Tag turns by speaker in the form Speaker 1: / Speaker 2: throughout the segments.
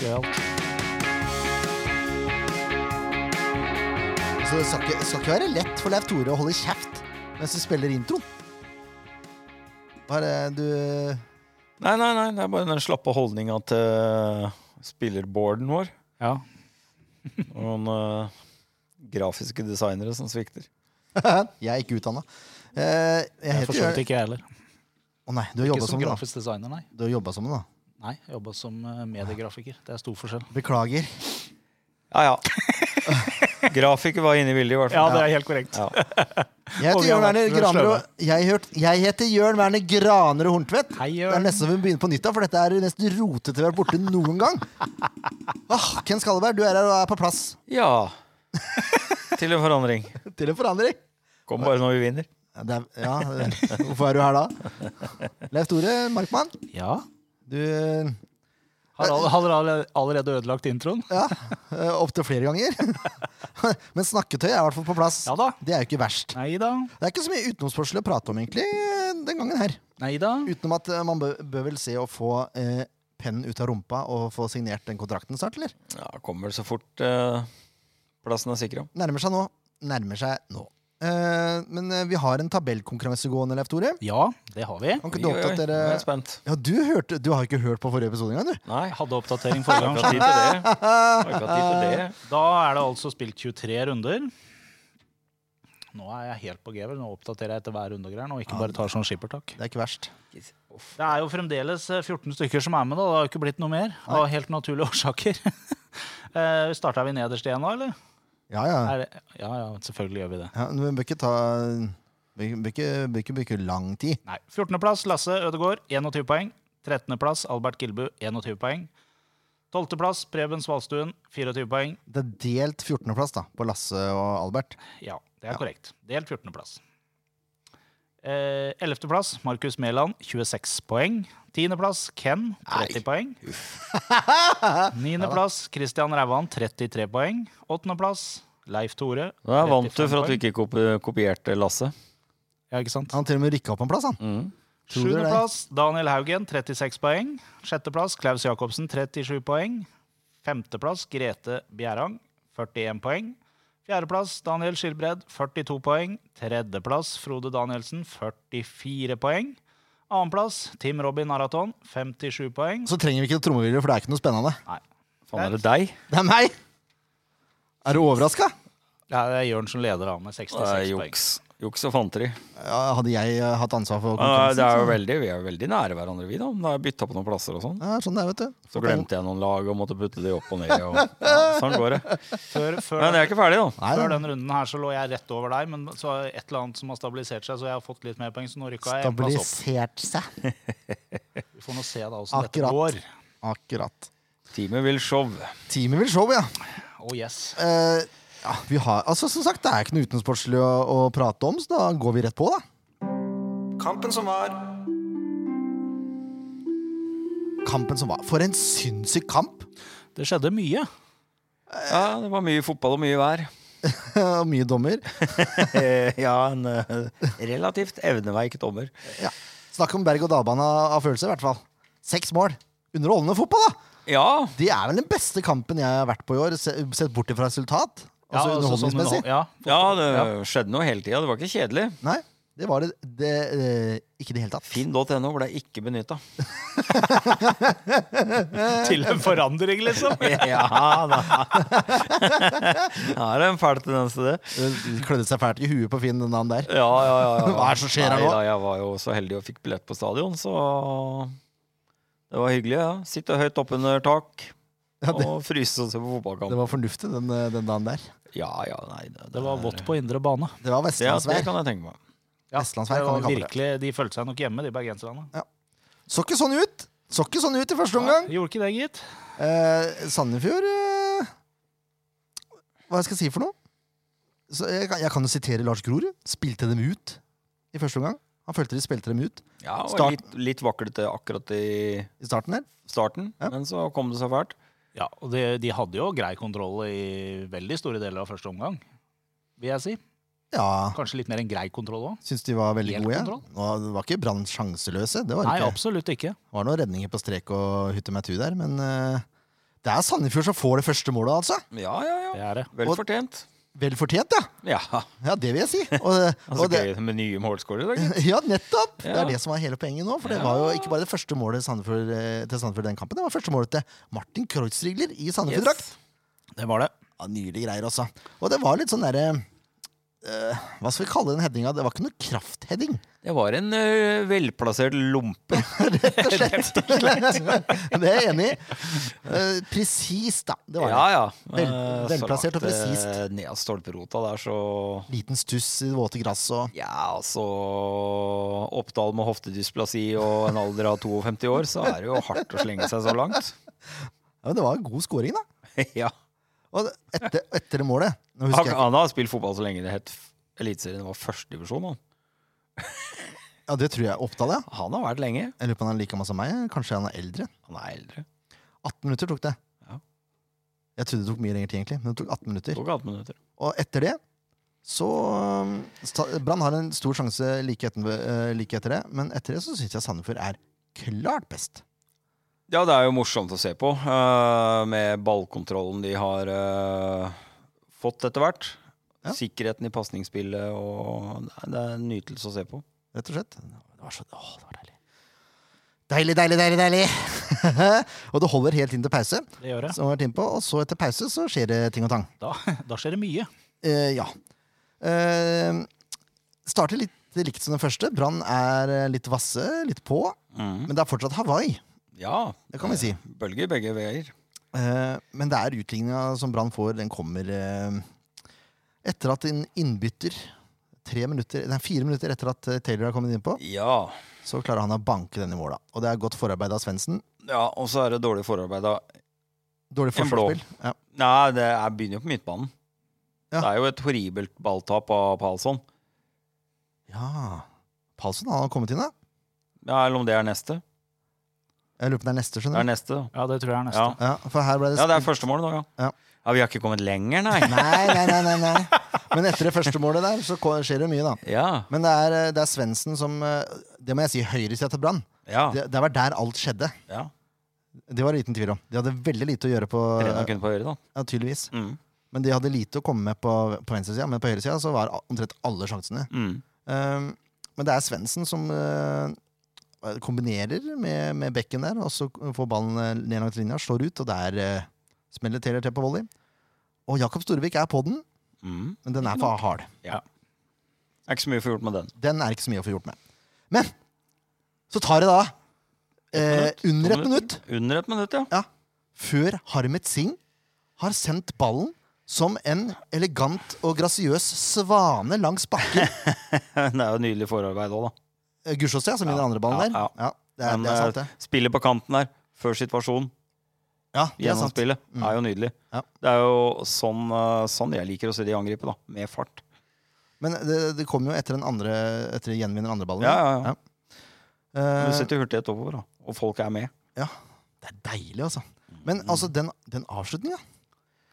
Speaker 1: gøyalt.
Speaker 2: Så det skal ikke, skal ikke være lett for Leif Tore å holde kjeft mens du spiller intro. Hva er det du
Speaker 3: Nei, nei, nei, det er bare den slappe holdninga til eh, spillerboarden vår.
Speaker 1: Ja.
Speaker 3: Og noen eh, grafiske designere som svikter.
Speaker 2: Jeg er ikke utdanna. Eh, jeg
Speaker 1: Jeg
Speaker 2: heter
Speaker 1: forstår
Speaker 2: Jørn-
Speaker 1: ikke, jeg heller.
Speaker 2: Å nei, du har
Speaker 1: Ikke
Speaker 2: jobba
Speaker 1: som
Speaker 2: som det, da.
Speaker 1: grafisk designer, nei.
Speaker 2: Du har jobbet som det, da.
Speaker 1: Nei, jeg jobba som eh, mediegrafiker. Det er stor forskjell.
Speaker 2: Beklager.
Speaker 3: Ja, ja. Grafiker var inne i bildet, i hvert fall.
Speaker 1: det er helt korrekt.
Speaker 3: Ja.
Speaker 2: Jeg
Speaker 1: Og
Speaker 2: heter
Speaker 1: vi har vært
Speaker 2: Jørn Werner Graner
Speaker 1: slemme.
Speaker 2: og jeg, hørt, jeg heter Jørn Werner Graner og Horntvedt.
Speaker 1: Hei,
Speaker 2: Det er
Speaker 1: Jørn.
Speaker 2: nesten som vi begynner på nytt, da, for dette er det mest rotete vi har vært borte noen gang. Ah, Ken Skalleberg, du er her og er på plass.
Speaker 3: ja. Til en forandring.
Speaker 2: Til en forandring.
Speaker 3: Kom bare når vi vinner.
Speaker 2: Ja, Det er, ja, hvorfor er du her da? Leif Tore Markmann,
Speaker 1: Ja.
Speaker 2: du
Speaker 1: Har all- har dere allerede ødelagt introen?
Speaker 2: Ja, eh, opptil flere ganger. Men snakketøy er i hvert fall på plass.
Speaker 1: Ja da.
Speaker 2: Det er jo ikke verst.
Speaker 1: Nei da.
Speaker 2: Det er ikke så mye utenomsportslig å prate om egentlig eh, den gangen her.
Speaker 1: Nei da.
Speaker 2: Utenom at eh, man bør, bør vel se å få eh, pennen ut av rumpa og få signert den kontrakten snart, eller?
Speaker 3: Ja, Kommer vel så fort eh, plassen er sikra.
Speaker 2: Nærmer seg nå. Nærmer seg nå. Eh, men eh, vi har en tabellkonkurranse gående, Leif Tore.
Speaker 1: Ja, det har vi.
Speaker 2: Kan
Speaker 3: Oi,
Speaker 2: ikke du
Speaker 3: oi, oi,
Speaker 2: oppdatere
Speaker 3: nå er jeg spent.
Speaker 2: Ja, du hørte Du har ikke hørt på forrige episode engang, du?
Speaker 3: Nei,
Speaker 1: Jeg hadde oppdatering
Speaker 3: har
Speaker 1: forrige
Speaker 3: ikke
Speaker 1: gang.
Speaker 3: hatt tid til det. Har ikke hatt tid til det.
Speaker 1: Da er det altså spilt 23 runder. Nå er jeg helt på G, vel. Nå oppdaterer jeg etter hver runde og greier. Nå, ikke bare tar sånn skippertak.
Speaker 2: Det er ikke verst.
Speaker 1: Det er jo fremdeles eh, 14 stykker som er med, da. Det har jo ikke blitt noe mer. Av helt naturlige årsaker. Eh, Starta vi nederst igjen nå, eller?
Speaker 2: Ja, ja.
Speaker 1: Er det? Ja ja, selvfølgelig gjør vi det.
Speaker 2: ja men vi bør ikke ta Vi bør ikke, bør ikke bruke lang tid.
Speaker 1: Nei. 14.-plass Lasse Ødegaard, 21 poeng. 13.-plass Albert Gilbu, 21 poeng. 12.-plass Preben Svalstuen, 24 poeng.
Speaker 2: Det er delt 14.-plass da på Lasse og Albert.
Speaker 1: Ja, det er
Speaker 2: Ja.
Speaker 1: korrekt. Delt 14.-plass. Eh, 11.-plass Markus Mæland, 26 poeng. 10.-plass Ken, 30 poeng. 9.-plass Christian Rævan, 33 poeng. 8.-plass Leif Tore.
Speaker 3: Da vant du
Speaker 1: 35
Speaker 3: for at du
Speaker 1: poeng.
Speaker 3: ikke kopi- kopierte Lasse.
Speaker 1: Ja, ikke sant?
Speaker 2: Han til og med rykka opp en plass, han.
Speaker 3: Mm.
Speaker 2: Tror dere det?
Speaker 1: Sjuendeplass Daniel Haugen, 36 poeng. Sjetteplass Klaus Jacobsen, 37 poeng. Femteplass Grete Bjerang, 41 poeng. Fjerdeplass Daniel Skilbred, 42 poeng. Tredjeplass Frode Danielsen, 44 poeng. Annenplass Tim Robin Araton, 57 poeng.
Speaker 2: Så trenger vi ikke trommevirvel, for det er ikke noe spennende.
Speaker 1: Nei,
Speaker 3: Faen, er det deg?
Speaker 2: Det er meg! Er du overraska?
Speaker 1: det er Jørn som leder av med 66
Speaker 3: Det er
Speaker 1: poeng.
Speaker 3: juks. Juks og fanteri.
Speaker 2: Ja, hadde jeg eh, hatt ansvar for
Speaker 3: Ja,
Speaker 2: konkurransen?
Speaker 3: det er jo veldig, vi er jo veldig nære hverandre, vi, da. Da har jeg bytta på noen plasser og sånn.
Speaker 2: så- Ja, sånn det er, vet du.
Speaker 3: Så glemte jeg noen lag og måtte putte de opp og ned. Og, ja, sånn går det.
Speaker 1: Før, før,
Speaker 3: Men jeg er ikke ferdig, da.
Speaker 2: Nei,
Speaker 1: før
Speaker 2: det
Speaker 1: den runden her så lå jeg rett over deg, men så er et eller annet som har stabilisert seg, så jeg har fått litt mer poeng, så nå rykka jeg en plass opp.
Speaker 2: stabilisert seg.
Speaker 1: Vi får nå se da hvordan dette
Speaker 2: Akkurat.
Speaker 1: går.
Speaker 2: Akkurat.
Speaker 3: Teamet vil show.
Speaker 2: Teamet vil show, ja.
Speaker 1: Oh yes.
Speaker 2: Eh, ja vi har, altså, som sagt, det er ikke noe utenomsportslig å, å prate om, så da går vi rett på, da.
Speaker 3: Kampen som var.
Speaker 2: Kampen som var. For en sinnssyk kamp!
Speaker 1: Det skjedde mye.
Speaker 3: Ja, det var mye fotball og mye vær.
Speaker 2: Og Mye dommer.
Speaker 3: Eh, Ja, en eh, relativt evneveik dommer.
Speaker 2: Ja. Snakk om berg-og-dal-bane av følelser, i hvert fall. Seks mål. Underholdende fotball, da!
Speaker 3: Ja,
Speaker 2: Det er vel den beste kampen jeg har vært på i år, se- sett bort fra resultat. Altså
Speaker 1: altså, sånn
Speaker 2: underholdningsmessig.
Speaker 1: underhold- ja.
Speaker 3: ja det skjedde noe hele tida. Det var ikke kjedelig.
Speaker 2: Nei, det var det, det eh, ikke i det hele tatt.
Speaker 3: Finn.no ble ikke benytta.
Speaker 1: Til en forandring, liksom.
Speaker 3: Ja da. Ja, det er en fæl tendens til det.
Speaker 2: Eh, Klødde seg fælt i huet på Finn den dagen der.
Speaker 3: Ja, ja, ja, ja.
Speaker 2: Hva er det som skjer her
Speaker 3: Nei
Speaker 2: nå?
Speaker 3: da, Jeg var jo så heldig og fikk billett på stadion, så det var hyggelig. ja. Sitte høyt oppunder tak
Speaker 2: Ja, det,
Speaker 3: og fryse og se på fotballkamp.
Speaker 2: det var fornuftig den, eh, den dagen der.
Speaker 3: Ja, ja, nei Det,
Speaker 1: Det var
Speaker 3: er-
Speaker 1: vått på indre bane.
Speaker 2: Det var
Speaker 3: Det, det
Speaker 2: vestlandsvær.
Speaker 3: kan jeg tenke meg.
Speaker 1: Ja,
Speaker 2: Vestlandsvær
Speaker 1: det var
Speaker 2: kan vi kalle det.
Speaker 1: virkelig, De følte seg nok hjemme, de bergenserne.
Speaker 2: Så ikke sånn ut! Så ikke sånn ut i første omgang.
Speaker 1: Gjorde ikke det, gitt.
Speaker 2: Eh, Sandefjord eh, Hva skal jeg si for noe? Så jeg, kan- jeg kan jo sitere Lars Grorud. Spilte dem ut i første omgang. Han følte de spilte dem ut
Speaker 3: Ja, og
Speaker 2: Start-
Speaker 3: litt, litt vaklete akkurat i
Speaker 2: i starten her.
Speaker 3: starten,
Speaker 2: Ja.
Speaker 3: men så kom det så fælt.
Speaker 1: Ja, og de, de hadde jo grei kontroll i veldig store deler av første omgang, vil jeg si.
Speaker 2: Ja,
Speaker 1: Kanskje litt mer enn grei kontroll òg.
Speaker 2: syns de var veldig
Speaker 1: Helt
Speaker 2: gode. Ja.
Speaker 1: kontroll.
Speaker 2: Og Det var ikke Brann sjanseløse. Det var
Speaker 1: Nei,
Speaker 2: det ikke.
Speaker 1: absolutt ikke.
Speaker 2: Det var noen redninger på strek og hutte meg tu der, men eh, Det er Sandefjord som får det første målet, altså.
Speaker 3: Ja, ja,
Speaker 1: Det
Speaker 3: ja.
Speaker 1: er det.
Speaker 3: Vel
Speaker 2: Og-
Speaker 3: fortjent.
Speaker 2: Vel fortjent, ja.
Speaker 3: Ja.
Speaker 2: Ja, det vil jeg si. Og,
Speaker 3: Altså,
Speaker 2: og det,
Speaker 3: Gøy med nye målskårere i dag. gitt.
Speaker 2: ja, nettopp! Det
Speaker 3: Ja.
Speaker 2: er det som er hele poenget nå. For det
Speaker 3: Ja.
Speaker 2: var jo ikke bare det første målet Sandefjord, eh, til Sandefjord i den kampen, det var første målet til Martin Kreuzrigler i Sandefjord-drakt.
Speaker 3: Yes.
Speaker 1: Det var det.
Speaker 2: Ja, Nydelige greier, altså. Og det var litt sånn derre eh, Hva skal vi kalle den headinga? Det var ikke noe kraftheading.
Speaker 3: Det var en ø, velplassert lompe.
Speaker 2: rett og slett. det er jeg enig i. Eh, presist, da. Det var
Speaker 3: Ja, ja.
Speaker 2: Vel-
Speaker 3: Eh,
Speaker 2: velplassert og
Speaker 3: så langt, eh,
Speaker 2: presist.
Speaker 3: Ned av stolperota der, så
Speaker 2: det. Liten stuss i det våte gresset og
Speaker 3: Ja, altså Oppdal med hoftedysplasi og en alder av 52 år, så er det jo hardt å slenge seg så langt.
Speaker 2: ja, men Det var en god scoring, da.
Speaker 3: ja.
Speaker 2: Og etter, etter det målet Nå
Speaker 3: Han,
Speaker 2: husker jeg
Speaker 3: han har spilt fotball så lenge det het f- Eliteserien var førstedivisjon. Han.
Speaker 2: Ja, det tror jeg Oppdal, ja.
Speaker 3: han har vært lenge.
Speaker 2: Jeg lurer på om han er like gammel som meg. Kanskje han er eldre.
Speaker 3: Han er eldre.
Speaker 2: 18 minutter tok det.
Speaker 3: Ja.
Speaker 2: Jeg trodde det tok mye lengre tid, egentlig, men det tok 18 minutter.
Speaker 3: Tok 18 minutter.
Speaker 2: Og etter det så um, sta- Brann har en stor sjanse like etter, eh, like etter det, men etter det så syns jeg Sandefjord er klart best.
Speaker 3: Ja, det er jo morsomt å se på, eh, med ballkontrollen de har eh, fått etter hvert.
Speaker 2: Ja.
Speaker 3: Sikkerheten i pasningsspillet og Nei, Det er en nytelse å se på.
Speaker 2: rett og slett. Det var så, åh, det var deilig. Deilig, deilig, deilig, deilig! og det holder helt inn til pause,
Speaker 1: Det gjør det.
Speaker 2: som vi har vært inne på, og så etter pause så skjer det ting og tang.
Speaker 1: Da, da skjer det mye.
Speaker 2: Eh, ja. Eh, starter litt likt som den første. Brann er eh, litt vasse, litt på, men det er fortsatt Hawaii.
Speaker 3: Ja.
Speaker 2: Mm.
Speaker 3: Eh,
Speaker 2: Det kan vi si.
Speaker 3: Bølger begge veier.
Speaker 2: Eh, men det er utligninga som Brann får, den kommer eh, etter at en innbytter tre minutter, nei, fire minutter etter at eh, Taylor har kommet innpå,
Speaker 3: Ja.
Speaker 2: så klarer han å banke den i mål. da. Og det er godt forarbeid av Svendsen.
Speaker 3: Ja, og så er det dårlig forarbeid da.
Speaker 2: Dårlig
Speaker 3: En blå.
Speaker 2: forsvarsspill. Ja.
Speaker 3: Nei, det er, begynner jo på midtbanen.
Speaker 2: Ja.
Speaker 3: Det er jo et horribelt balltap av Palsson.
Speaker 2: ja. Palsson han har kommet inn, da.
Speaker 3: Ja, eller om det er neste.
Speaker 2: Jeg lurer på om det er neste,
Speaker 3: Det er
Speaker 2: skjønner du.
Speaker 3: neste, da.
Speaker 1: Ja, det tror jeg er neste.
Speaker 3: Ja.
Speaker 2: Ja, for her ble det
Speaker 3: Ja, det er første mål nå, ja.
Speaker 2: Ja.
Speaker 3: Ja, vi har ikke kommet lenger, nei.
Speaker 2: Nei, nei, nei, nei, nei. Men etter det første målet der, så ko- skjer det mye, da.
Speaker 3: Ja,
Speaker 2: Men det er, eh, det er Svendsen som eh, Det må jeg si, høyresida til Brann.
Speaker 3: ja,
Speaker 2: Det, det var der alt skjedde.
Speaker 3: ja.
Speaker 2: Det var det liten tvil om. De hadde veldig lite å gjøre på
Speaker 3: Brenna kunne på høyre, da.
Speaker 2: ja, tydeligvis.
Speaker 3: Mm.
Speaker 2: Men de hadde lite å komme med på, på venstresida, men på høyresida så var omtrent alle sjansene.
Speaker 3: Mm.
Speaker 2: Um, men det er Svendsen som eh, kombinerer med, med bekken der, og så får ballen eh, ned langs linja, slår ut, og der eh, smeller Taylor til på volley. Og Jakob Storevik er på den,
Speaker 3: Mm.
Speaker 2: men den er for hard.
Speaker 3: Det er ikke så mye å få gjort med den.
Speaker 2: Den er ikke så mye å få gjort med. Men så tar det da eh,
Speaker 3: Et minutt,
Speaker 2: under
Speaker 3: to
Speaker 2: et minutt
Speaker 3: Under et minutt, ja.
Speaker 2: ja, før Harmet Singh har sendt ballen som en elegant og grasiøs svane langs bakken.
Speaker 3: Det er jo nydelig forarbeid òg, da.
Speaker 2: Eh, Gulsås, ja, som vinner
Speaker 3: Ja,
Speaker 2: andre ballen
Speaker 3: ja,
Speaker 2: der. Ja, det er,
Speaker 3: Men,
Speaker 2: det er sant,
Speaker 3: eh,
Speaker 2: det.
Speaker 3: Spillet på kanten her, før situasjonen,
Speaker 2: Ja, det er
Speaker 3: gjennom
Speaker 2: sant.
Speaker 3: spillet,
Speaker 2: Mm.
Speaker 3: er jo nydelig.
Speaker 2: Ja.
Speaker 3: Det er jo sånn, eh, sånn jeg liker å se de angripe, da. Med fart.
Speaker 2: Men det, det kom jo etter den andre Etter de gjenvinner andre ballen.
Speaker 3: Ja, ja, ja.
Speaker 2: Ja. Eh,
Speaker 3: Du setter hurtighet oppover, da. Og folk er med.
Speaker 2: det er deilig, altså. Men altså, den, den avslutninga,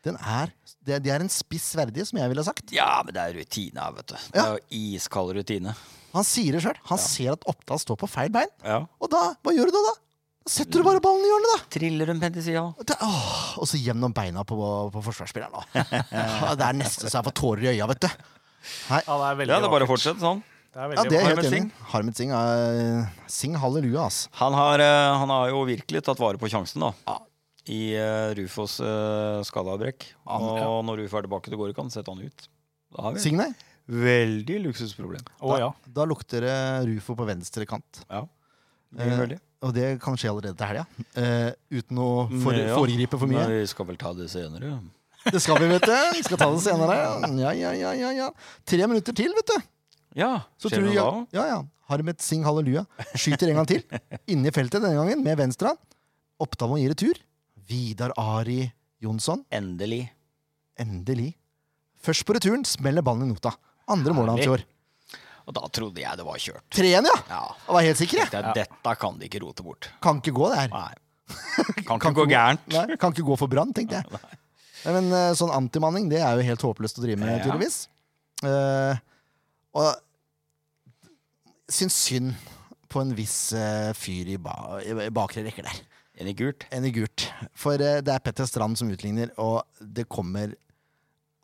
Speaker 2: den er det, det er en spiss verdig, som jeg ville ha sagt.
Speaker 3: Ja, men det er rutine her, vet du. Det
Speaker 2: Ja.
Speaker 3: er jo iskald rutine.
Speaker 2: Han sier det sjøl. Han ser at Oppdal står på feil bein.
Speaker 3: Ja.
Speaker 2: Og da, hva gjør du da? da? Da setter du bare ballen i hjørnet, da!
Speaker 3: Triller hun til sida?
Speaker 2: Og Det, åh, og så gjennom beina på, på forsvarsspilleren nå. Ja, det er nesten så jeg får tårer i øya, vet du.
Speaker 1: Ja, det er veldig
Speaker 3: Ja, det er bare å
Speaker 1: vakkert.
Speaker 3: fortsette sånn.
Speaker 1: Det er
Speaker 2: Ja,
Speaker 1: veldig
Speaker 2: det er jeg
Speaker 1: vakkert.
Speaker 2: helt
Speaker 3: Harmet
Speaker 2: enig. i. Harmet Singh er Singh halleluja, ass.
Speaker 3: Han har, eh, han har jo virkelig tatt vare på sjansen, da. I eh, Rufos uh, skadeavbrekk.
Speaker 1: Ja,
Speaker 3: Og
Speaker 1: ja.
Speaker 3: når Rufo er tilbake til Gorikan, setter han ut. Da har vi
Speaker 2: Singh, nei.
Speaker 3: veldig luksusproblem.
Speaker 1: Å ja.
Speaker 2: Da lukter det Rufo på venstre kant.
Speaker 3: Det blir
Speaker 2: Eh,
Speaker 3: veldig.
Speaker 2: Og det kan skje allerede til helga. Eh, uten å for,
Speaker 3: Nei, Mm, ja.
Speaker 2: foregripe for mye.
Speaker 3: Men vi skal vel ta det senere.
Speaker 2: Det skal vi, vet du. Vi skal ta det senere. Ja, ja, ja, ja, ja. Tre minutter til, vet du.
Speaker 3: Ja,
Speaker 2: Så
Speaker 3: skjer
Speaker 2: tror
Speaker 3: det
Speaker 2: jeg,
Speaker 3: noe da?
Speaker 2: ja, ja. Harmet Singh halleluja skyter en gang til. Inne i feltet denne gangen, med venstre. Oppdal må gi retur. Vidar Ari Jonsson.
Speaker 3: Endelig.
Speaker 2: Endelig. Først på returen smeller ballen i nota. Andre målet hans i år.
Speaker 3: Og da trodde jeg det var kjørt.
Speaker 2: Tre igjen, ja!
Speaker 3: Ja.
Speaker 2: Jeg var helt sikker, jeg.
Speaker 3: Tenkte jeg, Dette kan de ikke rote bort.
Speaker 2: Kan ikke gå, det her.
Speaker 3: Nei. Kan
Speaker 2: Kan
Speaker 3: ikke gå gærent.
Speaker 2: Nei, kan ikke gå for brann, tenkte jeg. Nei, men eh, sånn antimanning, det er jo helt håpløst å drive med,
Speaker 3: Ja.
Speaker 2: tydeligvis. Eh, og syns synd på en viss eh, fyr i, ba i bakre rekker der.
Speaker 3: En i gult.
Speaker 2: enn i gult. For eh, det er Petter Strand som utligner, og det kommer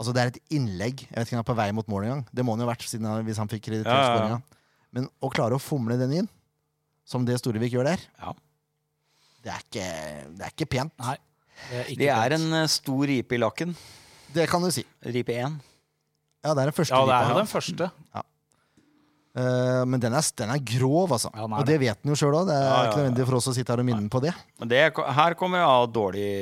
Speaker 2: Altså, det er et innlegg. Jeg vet ikke om han er på vei mot mål engang. Det må han jo ha vært siden han, hvis han fikk kreditert
Speaker 3: Ja, ja, ja.
Speaker 2: skåringa. Men å klare å fomle den inn, som det Storevik gjør der,
Speaker 3: Ja.
Speaker 2: det er ikke, det er ikke pent.
Speaker 1: Nei. Det er, ikke
Speaker 3: Det er
Speaker 1: pent.
Speaker 3: en eh, stor ripe i lakken.
Speaker 2: Det kan du si.
Speaker 3: Ripe én.
Speaker 2: Ja, det er den første
Speaker 1: Ja, det er
Speaker 2: ripa.
Speaker 1: jo den første.
Speaker 2: Eh, men den er, den er grov, altså.
Speaker 1: Ja, den er
Speaker 2: og det vet den jo sjøl òg. Det er
Speaker 3: Ja, ja,
Speaker 2: ikke nødvendig for oss å sitte her og minne den på det.
Speaker 3: Men det, her kommer jeg av dårlig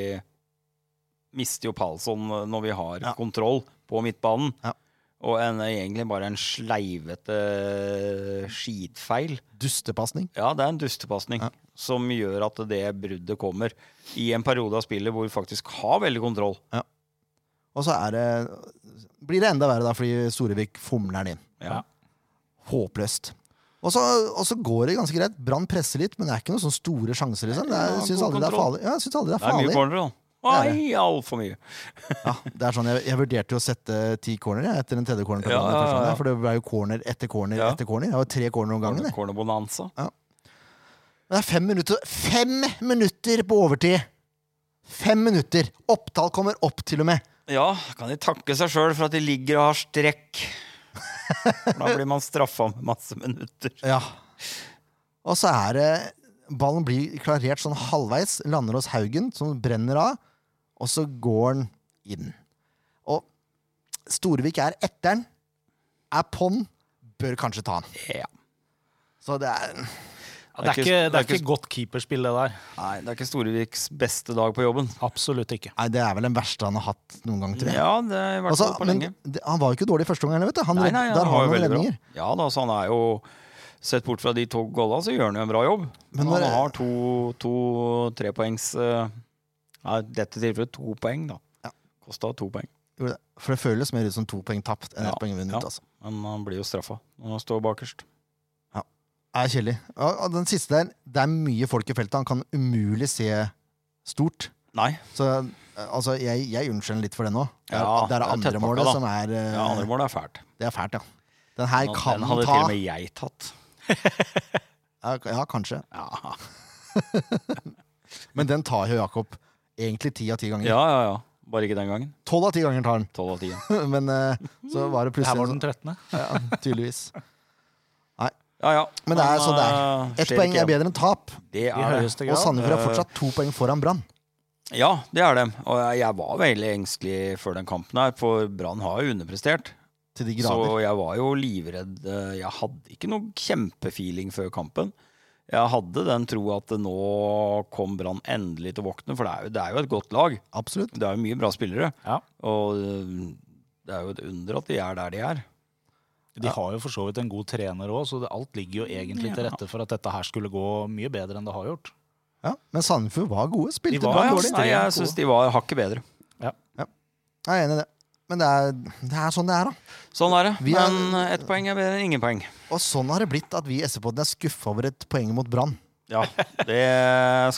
Speaker 3: Mister jo Palsson når vi har
Speaker 2: Ja.
Speaker 3: kontroll på midtbanen.
Speaker 2: Ja.
Speaker 3: Og en, egentlig bare en sleivete skitfeil.
Speaker 2: Dustepasning.
Speaker 3: Ja, det er en dustepasning
Speaker 2: Ja.
Speaker 3: som gjør at det bruddet kommer i en periode av spillet hvor vi faktisk har veldig kontroll.
Speaker 2: Og så er det, blir det enda verre da, fordi Storevik fomler den inn.
Speaker 3: Ja.
Speaker 2: Håpløst. Og så, og så går det ganske greit. Brann presser litt, men det er ikke noen sånne store sjanser. liksom. Det er,
Speaker 3: Ja,
Speaker 2: jeg syns
Speaker 3: god
Speaker 2: aldri det er
Speaker 3: kontroll.
Speaker 2: farlig. Ja, jeg synes aldri det er
Speaker 3: Det er mye
Speaker 2: farlig.
Speaker 3: cornerer, da.
Speaker 2: Det er
Speaker 3: Oi, altfor mye.
Speaker 2: Ja, det er sånn, jeg, jeg vurderte jo å sette ti corner jeg, etter den tredje corneren. til
Speaker 3: Ja,
Speaker 2: Brann i
Speaker 3: ja,
Speaker 2: første
Speaker 3: ja.
Speaker 2: omgang, For det ble jo corner etter corner
Speaker 3: Ja.
Speaker 2: etter corner. Det var tre corner om gangen. det.
Speaker 3: Cornerbonanza.
Speaker 2: Men det er fem minutter, fem minutter på overtid! Fem minutter! Oppdal kommer opp, til og med.
Speaker 3: Ja, kan de takke seg sjøl for at de ligger og har strekk. For da blir man straffa med masse minutter.
Speaker 2: Ja. Og så er det Ballen blir klarert sånn halvveis, lander hos Haugen, som brenner av, og så går den inn. Og Storevik er etter'n, er på'n, bør kanskje ta han.
Speaker 3: Ja.
Speaker 2: Så det er
Speaker 1: Ja, det, er ikke, det er ikke godt keeperspill, det der.
Speaker 3: Nei, det er ikke Storeviks beste dag på jobben.
Speaker 1: Absolutt ikke.
Speaker 2: Nei, det er vel den verste han har hatt noen gang, tror jeg.
Speaker 3: Ja, det er i hvert
Speaker 2: Altså,
Speaker 3: fall på
Speaker 2: men
Speaker 3: lenge.
Speaker 2: det, han var jo ikke dårlig første gang heller, vet du. Han,
Speaker 3: Nei, nei,
Speaker 2: der
Speaker 3: han
Speaker 2: har
Speaker 3: var jo
Speaker 2: han noen
Speaker 3: veldig bra.
Speaker 2: redninger.
Speaker 3: Ja da, så han er jo Sett bort fra de to golla, så gjør han jo en bra jobb.
Speaker 2: Men
Speaker 3: han
Speaker 2: når-
Speaker 3: har to, to trepoengs eh, Ja, i dette tilfellet to poeng, da.
Speaker 2: Ja.
Speaker 3: Kosta to poeng.
Speaker 2: Gjorde det. For det føles mer ut som to poeng tapt enn ett
Speaker 3: Ja,
Speaker 2: poeng vunnet.
Speaker 3: ja.
Speaker 2: altså.
Speaker 3: Men han blir jo straffa når han står bakerst.
Speaker 2: er kjedelig. Og, og den siste der, det er mye folk i feltet. Han kan umulig se stort.
Speaker 3: Nei.
Speaker 2: Så eh, altså, jeg, jeg unnskylder litt for det nå. Det er,
Speaker 3: Ja,
Speaker 2: det er
Speaker 3: det er
Speaker 2: det andre
Speaker 3: tettpakka,
Speaker 2: målet
Speaker 3: da.
Speaker 2: som er eh,
Speaker 3: Ja, andre mål er fælt.
Speaker 2: Det er fælt, ja. Den her
Speaker 3: Den
Speaker 2: kan
Speaker 3: den
Speaker 2: han
Speaker 3: hadde
Speaker 2: ta.
Speaker 3: til og med jeg tatt.
Speaker 2: Ja, k- ja, kanskje.
Speaker 3: Ja,
Speaker 2: Men den tar jo Jakob egentlig ti av ti ganger.
Speaker 3: ja, ja. ja. Bare ikke den gangen.
Speaker 2: Tolv av ti ganger tar han.
Speaker 3: Tolv av ti. ja.
Speaker 2: Men eh, så var det
Speaker 1: Det her
Speaker 2: plutselig
Speaker 1: var den 13.
Speaker 2: ja, Tydeligvis.
Speaker 3: Ja, ja.
Speaker 2: Men det er sånn det er.
Speaker 3: eh,
Speaker 2: Ett
Speaker 3: skjer
Speaker 2: poeng
Speaker 3: ikke
Speaker 2: er bedre enn tap,
Speaker 3: igjen. Det
Speaker 1: I
Speaker 3: er det.
Speaker 1: høyeste
Speaker 2: og
Speaker 1: grad.
Speaker 2: Sandefjord er
Speaker 3: eh,
Speaker 2: fortsatt to poeng foran Brann.
Speaker 3: Ja, det er det. Og jeg- jeg var veldig engstelig før den kampen her, for Brann har jo underprestert.
Speaker 2: Til de grader.
Speaker 3: Så jeg var jo livredd. Eh, Jeg hadde ikke noe kjempefeeling før kampen. Jeg hadde den troa at det nå kom Brann endelig til å våkne, for det er, jo, det er jo et godt lag.
Speaker 2: Absolutt.
Speaker 3: Det er jo mye bra spillere.
Speaker 1: Ja.
Speaker 3: Og eh, det er jo et under at de er der de er.
Speaker 1: De har jo for så vidt en god trener òg, så det, alt ligger jo egentlig til
Speaker 3: Ja.
Speaker 1: rette for at dette her skulle gå mye bedre enn det har gjort.
Speaker 2: Ja. Men Sandefjord var gode. Spilte
Speaker 1: De var
Speaker 2: bra
Speaker 1: jo
Speaker 2: dårlig.
Speaker 1: ekstremt
Speaker 3: Nei, jeg
Speaker 1: gode.
Speaker 3: syns de var hakket bedre.
Speaker 2: Jeg er enig i det. Men det er, det er sånn det er, da.
Speaker 3: Sånn er det.
Speaker 2: Vi er-
Speaker 3: Men eh, ett poeng er bedre enn ingen poeng.
Speaker 2: Og sånn har det blitt at vi i SV-podden er skuffa over et poeng mot Brann.
Speaker 3: Ja, det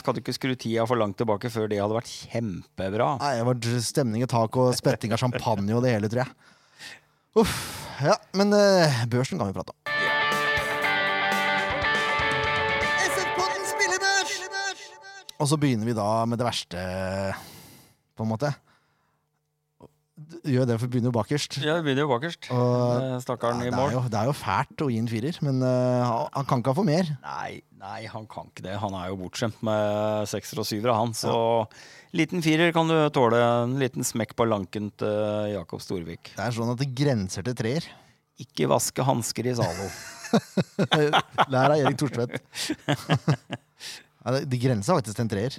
Speaker 3: skal du ikke skru tida for langt tilbake før det hadde vært kjempebra.
Speaker 2: Nei, Det var stemning i tak og spetting av champagne og det hele, tror jeg. Uff. Ja, men eh, børsen kan vi prate om. Og så begynner vi da med det verste, på en måte. Gjør det, for vi begynner jo bakerst.
Speaker 3: Ja, vi begynner jo bakerst.
Speaker 2: Og-
Speaker 3: Eh,
Speaker 2: Ja,
Speaker 3: Stakkaren
Speaker 2: det, er
Speaker 3: i mål.
Speaker 2: jo, det er jo fælt å gi en firer, men eh, han- han kan ikke ha for mer.
Speaker 3: Nei, nei, han kan ikke det. Han er jo bortskjemt med sekser og syvere, han. Så liten firer kan du tåle. En liten smekk på lanken til eh, Jakob Storvik.
Speaker 2: Det er sånn at det grenser til treer.
Speaker 3: Ikke vaske hansker i Zalo.
Speaker 2: Lær av Erik Thorstvedt. ja, det, det grenser faktisk til en treer.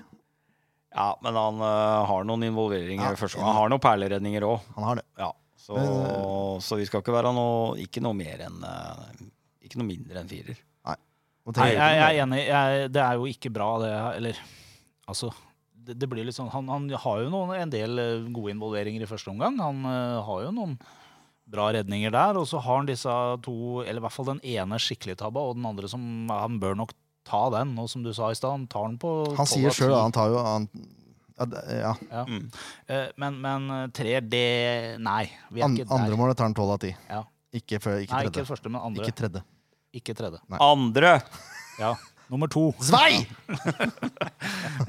Speaker 3: Ja, men han eh, har noen involveringer.
Speaker 2: Ja.
Speaker 3: i første gang. Han har noen perleredninger òg.
Speaker 2: Han har det.
Speaker 3: Ja, så,
Speaker 2: Men- eh,
Speaker 3: så vi skal ikke være noe Ikke noe mer enn eh, Ikke noe mindre enn firer.
Speaker 2: Og
Speaker 1: Nei,
Speaker 2: treer-
Speaker 1: jeg, jeg er enig. Jeg, det er jo ikke bra, det her. Eller altså det, det blir litt sånn, han, han har jo noen, en del eh, gode involveringer i første omgang. Han eh, har jo noen bra redninger der. Og så har han disse to, eller i hvert fall den ene skikkelig tabba, og den andre som Han bør nok ta den, og som du sa i stad, han tar den på 12
Speaker 2: han sier
Speaker 1: av 10.
Speaker 2: sjøl, han tar jo han, ja, det- ja.
Speaker 1: Ja.
Speaker 3: Mm.
Speaker 1: Eh, Men, men eh, treer, det Nei. Vi er
Speaker 2: An,
Speaker 1: ikke der.
Speaker 2: andre målet tar han tolv av ti.
Speaker 1: Ja.
Speaker 2: Ikke, før- ikke
Speaker 1: Nei, ikke
Speaker 2: tredje.
Speaker 1: det første, men andre.
Speaker 2: Ikke tredje.
Speaker 1: Ikke tredje.
Speaker 2: Nei.
Speaker 3: Andre!
Speaker 1: Ja. Nummer to.
Speaker 2: Svei!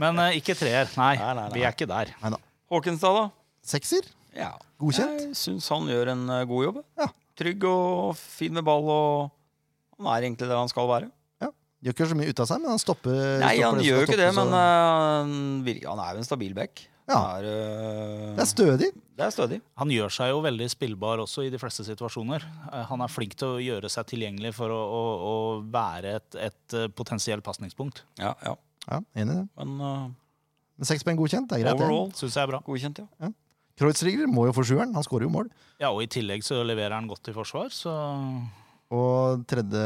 Speaker 1: Men eh, ikke treer. Nei,
Speaker 3: Nei, nei, nei.
Speaker 1: vi er ikke der.
Speaker 3: Håkenstad, da?
Speaker 2: Sekser.
Speaker 3: Ja.
Speaker 2: Godkjent.
Speaker 3: Jeg syns han gjør en eh, god jobb.
Speaker 2: Ja.
Speaker 3: Trygg og fin med ball, og han er egentlig der han skal være.
Speaker 2: Gjør ikke så mye ut av seg, men han stopper.
Speaker 3: Nei,
Speaker 2: stopper
Speaker 3: han
Speaker 2: det som
Speaker 3: gjør jo
Speaker 2: skal
Speaker 3: ikke det,
Speaker 2: stoppes,
Speaker 3: men
Speaker 2: og-
Speaker 3: eh, han virker, han er jo en stabil back.
Speaker 2: Ja.
Speaker 3: Det, er, eh,
Speaker 2: Det er stødig.
Speaker 3: det er stødig.
Speaker 1: Han gjør seg jo veldig spillbar også i de fleste situasjoner. Eh, Han er flink til å gjøre seg tilgjengelig for å, å, å være et, et eh, potensielt pasningspunkt.
Speaker 3: Ja, ja.
Speaker 2: Ja, enig i det.
Speaker 3: Men eh,
Speaker 2: Men seks poeng godkjent, det er greit. det.
Speaker 3: overall
Speaker 1: Syns jeg er bra.
Speaker 3: godkjent, ja.
Speaker 2: Kreutzrigger må jo få sjueren, han skårer jo mål.
Speaker 1: Ja, og i tillegg så leverer han godt i forsvar, så
Speaker 2: Og tredje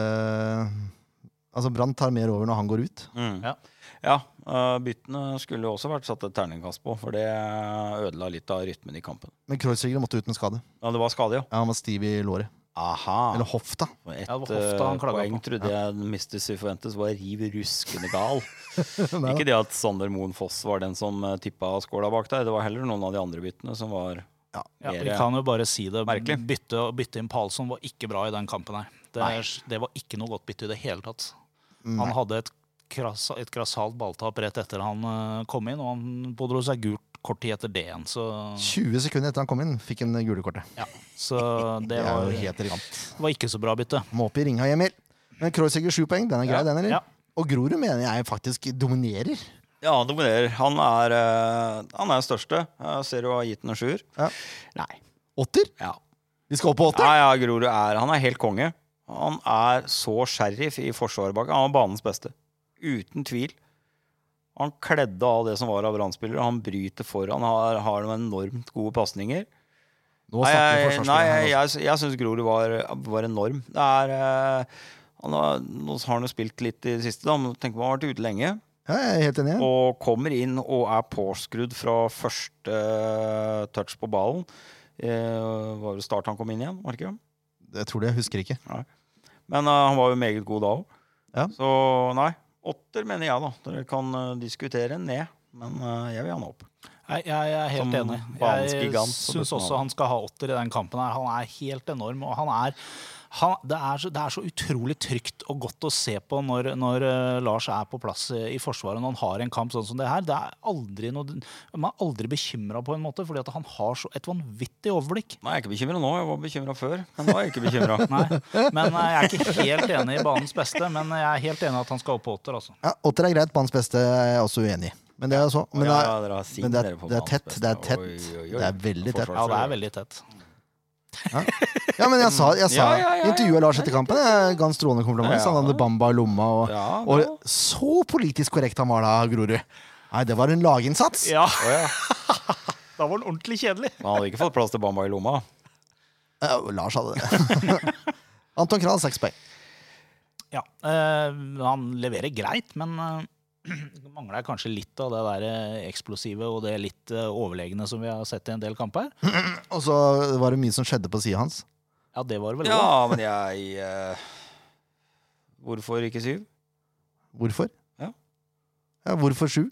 Speaker 2: Altså, Brann tar mer over når han går ut.
Speaker 3: Mm.
Speaker 1: Ja.
Speaker 3: Ja, eh, byttene skulle jo også vært satt et terningkast på, for det eh, ødela litt av rytmen i kampen.
Speaker 2: Men Kreutzrigger måtte ut med skade.
Speaker 3: Ja, det var skade, ja.
Speaker 2: Ja, Han var stiv i låret.
Speaker 3: Aha.
Speaker 2: Eller hofta.
Speaker 3: Et
Speaker 1: Ja, det var hofta han
Speaker 3: eh,
Speaker 1: klaga
Speaker 3: poeng
Speaker 1: på.
Speaker 3: trodde jeg Mr. Sifuentes var riv ruskende gal.
Speaker 2: Nei,
Speaker 3: Ikke det at Sander Moen Foss var den som eh, tippa skåla bak der, det var heller noen av de andre byttene som var
Speaker 1: ja, Vi
Speaker 3: Mer- eh,
Speaker 1: kan jo bare si det.
Speaker 3: Merkelig.
Speaker 1: Bytte, bytte inn Palsson var ikke bra i den kampen her. Det,
Speaker 3: Nei.
Speaker 1: det var ikke noe godt bytte i det hele tatt. Han hadde et, krass, et grassat balltap rett etter han eh, kom inn, og han pådro seg gult kort tid etter det igjen. Så,
Speaker 2: 20 sekunder etter han kom inn, fikk han det gule kortet.
Speaker 1: så det
Speaker 2: Det
Speaker 1: var,
Speaker 2: er jo helt elegant.
Speaker 1: var ikke så bra bytte.
Speaker 2: Må opp i ringa, Emil. Men Kreutzrigger sju poeng, den er grei,
Speaker 1: Ja,
Speaker 2: den, eller?
Speaker 1: ja.
Speaker 2: Og Grorud mener jeg faktisk dominerer.
Speaker 3: Ja, han dominerer. Han er, eh, han er største. Jeg ser jo har gitt den en sjuer.
Speaker 2: Ja.
Speaker 3: Nei.
Speaker 2: Åtter?
Speaker 3: Ja.
Speaker 2: Vi skal opp på åtter!
Speaker 3: Nei, ja, Grorud er Han er helt konge. Han er så sheriff i forsvaret bak. Han er banens beste. Uten tvil. Han kledde av det som var av Brann-spillere. Han bryter for. Han har, har noen enormt gode pasninger.
Speaker 2: Nå snakker
Speaker 3: Nei,
Speaker 2: vi
Speaker 3: jeg, nei,
Speaker 2: forsvarsspillere
Speaker 3: jeg,
Speaker 2: her.
Speaker 3: jeg, jeg syns Grorud var, var enorm. Det er eh, han har, Nå har han jo spilt litt i det siste, da, men tenk på han har vært ute lenge.
Speaker 2: altså. Ja, jeg er helt enig. jeg.
Speaker 3: Og kommer inn og er påskrudd fra første eh, touch på ballen. Eh, var det start han kom inn igjen? Var det ikke?
Speaker 2: Jeg tror det, jeg husker ikke.
Speaker 3: Men eh, han var jo meget god da òg.
Speaker 2: Ja.
Speaker 3: Så nei. Åtter mener jeg, da. Dere kan eh, diskutere ned, men eh, jeg vil ha han opp.
Speaker 1: Jeg, jeg er helt
Speaker 3: Som
Speaker 1: enig.
Speaker 3: banens
Speaker 1: Jeg
Speaker 3: gigant,
Speaker 1: syns
Speaker 3: så burde man
Speaker 1: også
Speaker 3: ha det.
Speaker 1: han skal ha åtter i den kampen. her. Han er helt enorm. og han er, han, det, er så, det er så utrolig trygt og godt å se på når, når eh, Lars er på plass eh, i Forsvaret når han har en kamp sånn som det her. Det er aldri noe, man er aldri bekymra på en måte, fordi at han har så, et vanvittig overblikk.
Speaker 3: Nei, jeg er ikke bekymra nå. Jeg var bekymra før, men nå er jeg ikke bekymra.
Speaker 1: Nei, men eh, jeg er ikke helt enig i banens beste, men jeg er helt enig i at han skal opp på åtter. altså.
Speaker 2: Ja, åtter er greit, banens beste er jeg også uenig i. Men det er så. Men det
Speaker 3: ja,
Speaker 2: er,
Speaker 3: ja, dere har sin
Speaker 2: men det er-
Speaker 3: dere på
Speaker 2: det er
Speaker 3: banens
Speaker 2: tett,
Speaker 3: beste.
Speaker 2: det er tett.
Speaker 3: Oi, oi, oi.
Speaker 2: Det er veldig tett.
Speaker 1: Ja, det er veldig tett.
Speaker 2: Ja, men jeg sa, jeg sa
Speaker 3: Ja, ja, ja, ja.
Speaker 2: intervjua Lars etter kampen. Jeg ga han strålende kompliment. så Han hadde bamba i lomma. Og,
Speaker 3: Ja, bra.
Speaker 2: og så politisk korrekt han var da, Grorud. Nei, det var en laginnsats.
Speaker 1: Ja,
Speaker 3: Å, ja.
Speaker 1: da var den ordentlig kjedelig.
Speaker 3: Men han hadde ikke fått plass til Bamba i lomma.
Speaker 2: Ja, Lars hadde det. Anton Kral, seks poeng.
Speaker 1: Ja, eh, han leverer greit, men eh, mangler kanskje litt av det der eh, eksplosive og det litt eh, overlegne som vi har sett i en del kamper.
Speaker 2: Og så var det mye som skjedde på sida hans.
Speaker 1: Ja, det var det vel
Speaker 3: Ja,
Speaker 1: også.
Speaker 3: men jeg eh, Hvorfor ikke syv?
Speaker 2: Hvorfor?
Speaker 3: Ja.
Speaker 2: Ja, hvorfor sju?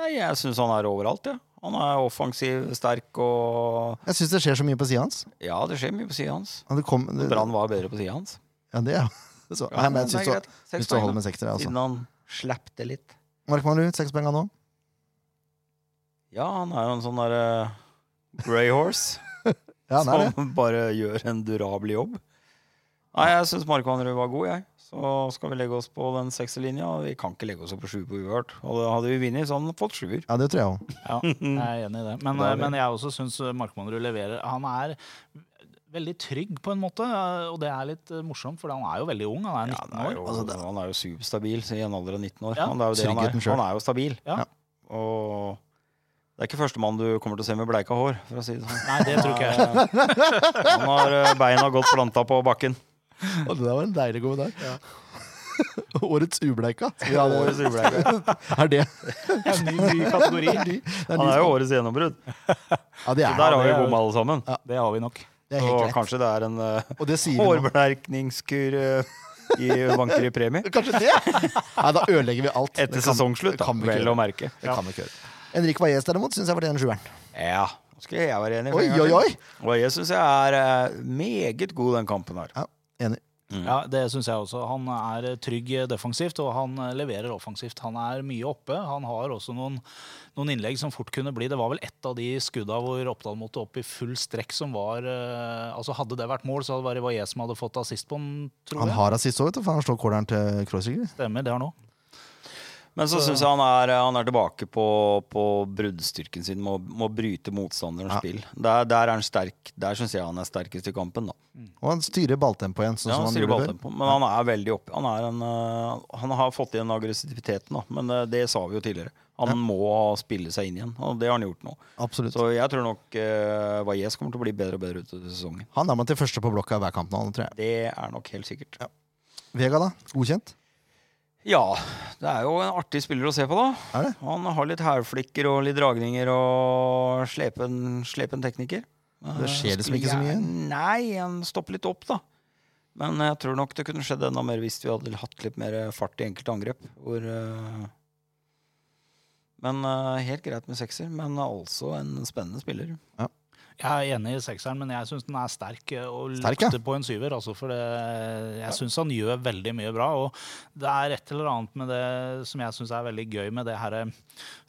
Speaker 3: Nei, jeg syns han er overalt, jeg. Ja. Han er offensiv, sterk og
Speaker 2: Jeg syns det skjer så mye på sida hans.
Speaker 3: Ja, det skjer mye på sida hans.
Speaker 2: Ja, Det kom, det,
Speaker 3: Brann var bedre på sida hans.
Speaker 2: ja, det, ja. Så, nei,
Speaker 3: Ja,
Speaker 2: men
Speaker 3: det er
Speaker 2: jeg syns
Speaker 3: greit.
Speaker 2: det-
Speaker 3: Seks
Speaker 2: syns det holder
Speaker 3: poeng, da.
Speaker 2: med sektere. Altså.
Speaker 3: Siden han slapp det litt.
Speaker 2: Mark Manrud, seks poeng han nå.
Speaker 3: Ja, han er jo en sånn derre grey horse
Speaker 2: Ja, det er det.
Speaker 3: som bare gjør en durabel jobb. Nei, jeg syns Markvannerud var god, jeg. Så skal vi legge oss på den sekserlinja. Vi kan ikke legge oss opp på sju på uhørt. Hadde hadde vi vunnet, så hadde han fått sjuer.
Speaker 2: Ja, det tror jeg òg.
Speaker 1: Ja, jeg er enig i det. Men,
Speaker 3: Det er
Speaker 1: eh,
Speaker 3: det.
Speaker 1: men jeg også syns Markmannrud leverer. Han er veldig trygg på en måte, eh, og det er litt eh, morsomt, for han er jo veldig ung. Han er
Speaker 3: Ja,
Speaker 1: 19
Speaker 3: det er
Speaker 1: år.
Speaker 3: jo,
Speaker 2: Altså, det-
Speaker 3: han er jo superstabil så i en alder av 19 år.
Speaker 1: Ja.
Speaker 3: Han, det er jo det han,
Speaker 2: Tryggheten
Speaker 3: er.
Speaker 2: selv.
Speaker 3: han er jo stabil.
Speaker 1: Ja.
Speaker 3: Og det er ikke førstemann du kommer til å se med bleika hår, for å si det sånn.
Speaker 1: Nei, det tror ikke jeg.
Speaker 3: Han har eh, beina godt planta på bakken.
Speaker 2: Og det der var en deilig kommentar. Årets ubleika. Ja,
Speaker 3: Årets ubleika.
Speaker 2: er det.
Speaker 1: Det er en ny, ny kategori.
Speaker 3: Han er jo årets gjennombrudd.
Speaker 2: Ja, det
Speaker 3: Så
Speaker 2: er,
Speaker 3: der har
Speaker 1: det
Speaker 3: vi
Speaker 1: er-
Speaker 3: bomma alle sammen.
Speaker 1: Det har vi nok.
Speaker 2: det er
Speaker 3: Så
Speaker 2: helt greit.
Speaker 3: kanskje det er en uh,
Speaker 2: Og det sier vi nå.
Speaker 3: hårblerkningskur eh, i banker i premie.
Speaker 2: Kanskje det? Nei, da ødelegger vi alt. Det
Speaker 3: Etter
Speaker 2: kan-
Speaker 3: sesongslutt,
Speaker 2: det
Speaker 3: da,
Speaker 2: kan vi ikke
Speaker 3: vel å
Speaker 2: gjøre.
Speaker 3: merke.
Speaker 2: Det kan vi ikke gjøre. Henrik Valles derimot syns jeg var den sjueren.
Speaker 3: Ja, nå skulle jeg være enig. for
Speaker 2: Oi,
Speaker 3: en gang
Speaker 2: oi, oi.
Speaker 3: til. Og jeg syns jeg er eh, meget god den kampen her.
Speaker 2: Ja, enig.
Speaker 1: Ja, Det syns jeg også. Han er eh, trygg defensivt, og han eh, leverer offensivt. Han er mye oppe. Han har også noen, noen innlegg som fort kunne bli. Det var vel ett av de skudda hvor Oppdal måtte opp i full strekk, som var eh, Altså Hadde det vært mål, så hadde det vært Ivaje som hadde fått assist på den, tror
Speaker 2: Han
Speaker 1: jeg.
Speaker 2: har assist òg, vet du, for han slår corneren til Kreuziger.
Speaker 1: Stemmer, det har nå.
Speaker 3: Men så syns jeg han er, eh, han er tilbake på, på bruddstyrken sin med å, med å bryte motstanderens
Speaker 2: Ja.
Speaker 3: spill. Der, der er han sterk. Der syns jeg han er sterkest i kampen, da.
Speaker 2: Og han styrer balltempoet igjen, sånn
Speaker 3: Ja,
Speaker 2: som
Speaker 3: han
Speaker 2: han
Speaker 3: styrer
Speaker 2: gjorde før.
Speaker 3: balltempo, men han er veldig oppe. Han, er en, øh, han har fått igjen aggressiviteten, da, men øh, det sa vi jo tidligere. Han må spille seg inn igjen, og det har han gjort nå.
Speaker 2: Absolutt.
Speaker 3: Så jeg tror nok uh, Valles kommer til å bli bedre og bedre utover sesongen.
Speaker 2: Han er med til første på blokka hver kamp nå, tror jeg.
Speaker 3: Det er nok helt sikkert.
Speaker 2: Vega, da? Godkjent?
Speaker 3: Ja, det er jo en artig spiller å se på, da.
Speaker 2: Er det?
Speaker 3: Han har litt hælflikker og litt dragninger og slepen, slepen tekniker.
Speaker 2: Det skjer liksom ikke så mye.
Speaker 3: Nei, han stopper litt opp, da. Men jeg tror nok det kunne skjedd enda mer hvis vi hadde hatt litt mer fart i enkelte angrep. Hvor, eh, men eh, helt greit med sekser, men altså en spennende spiller.
Speaker 1: Jeg er enig i sekseren, men jeg syns den er sterk eh, og
Speaker 2: Sterk, ja.
Speaker 1: lukter på en syver. Altså, for det, jeg syns han gjør veldig mye bra. Og det er et eller annet med det som jeg syns er veldig gøy med det her eh,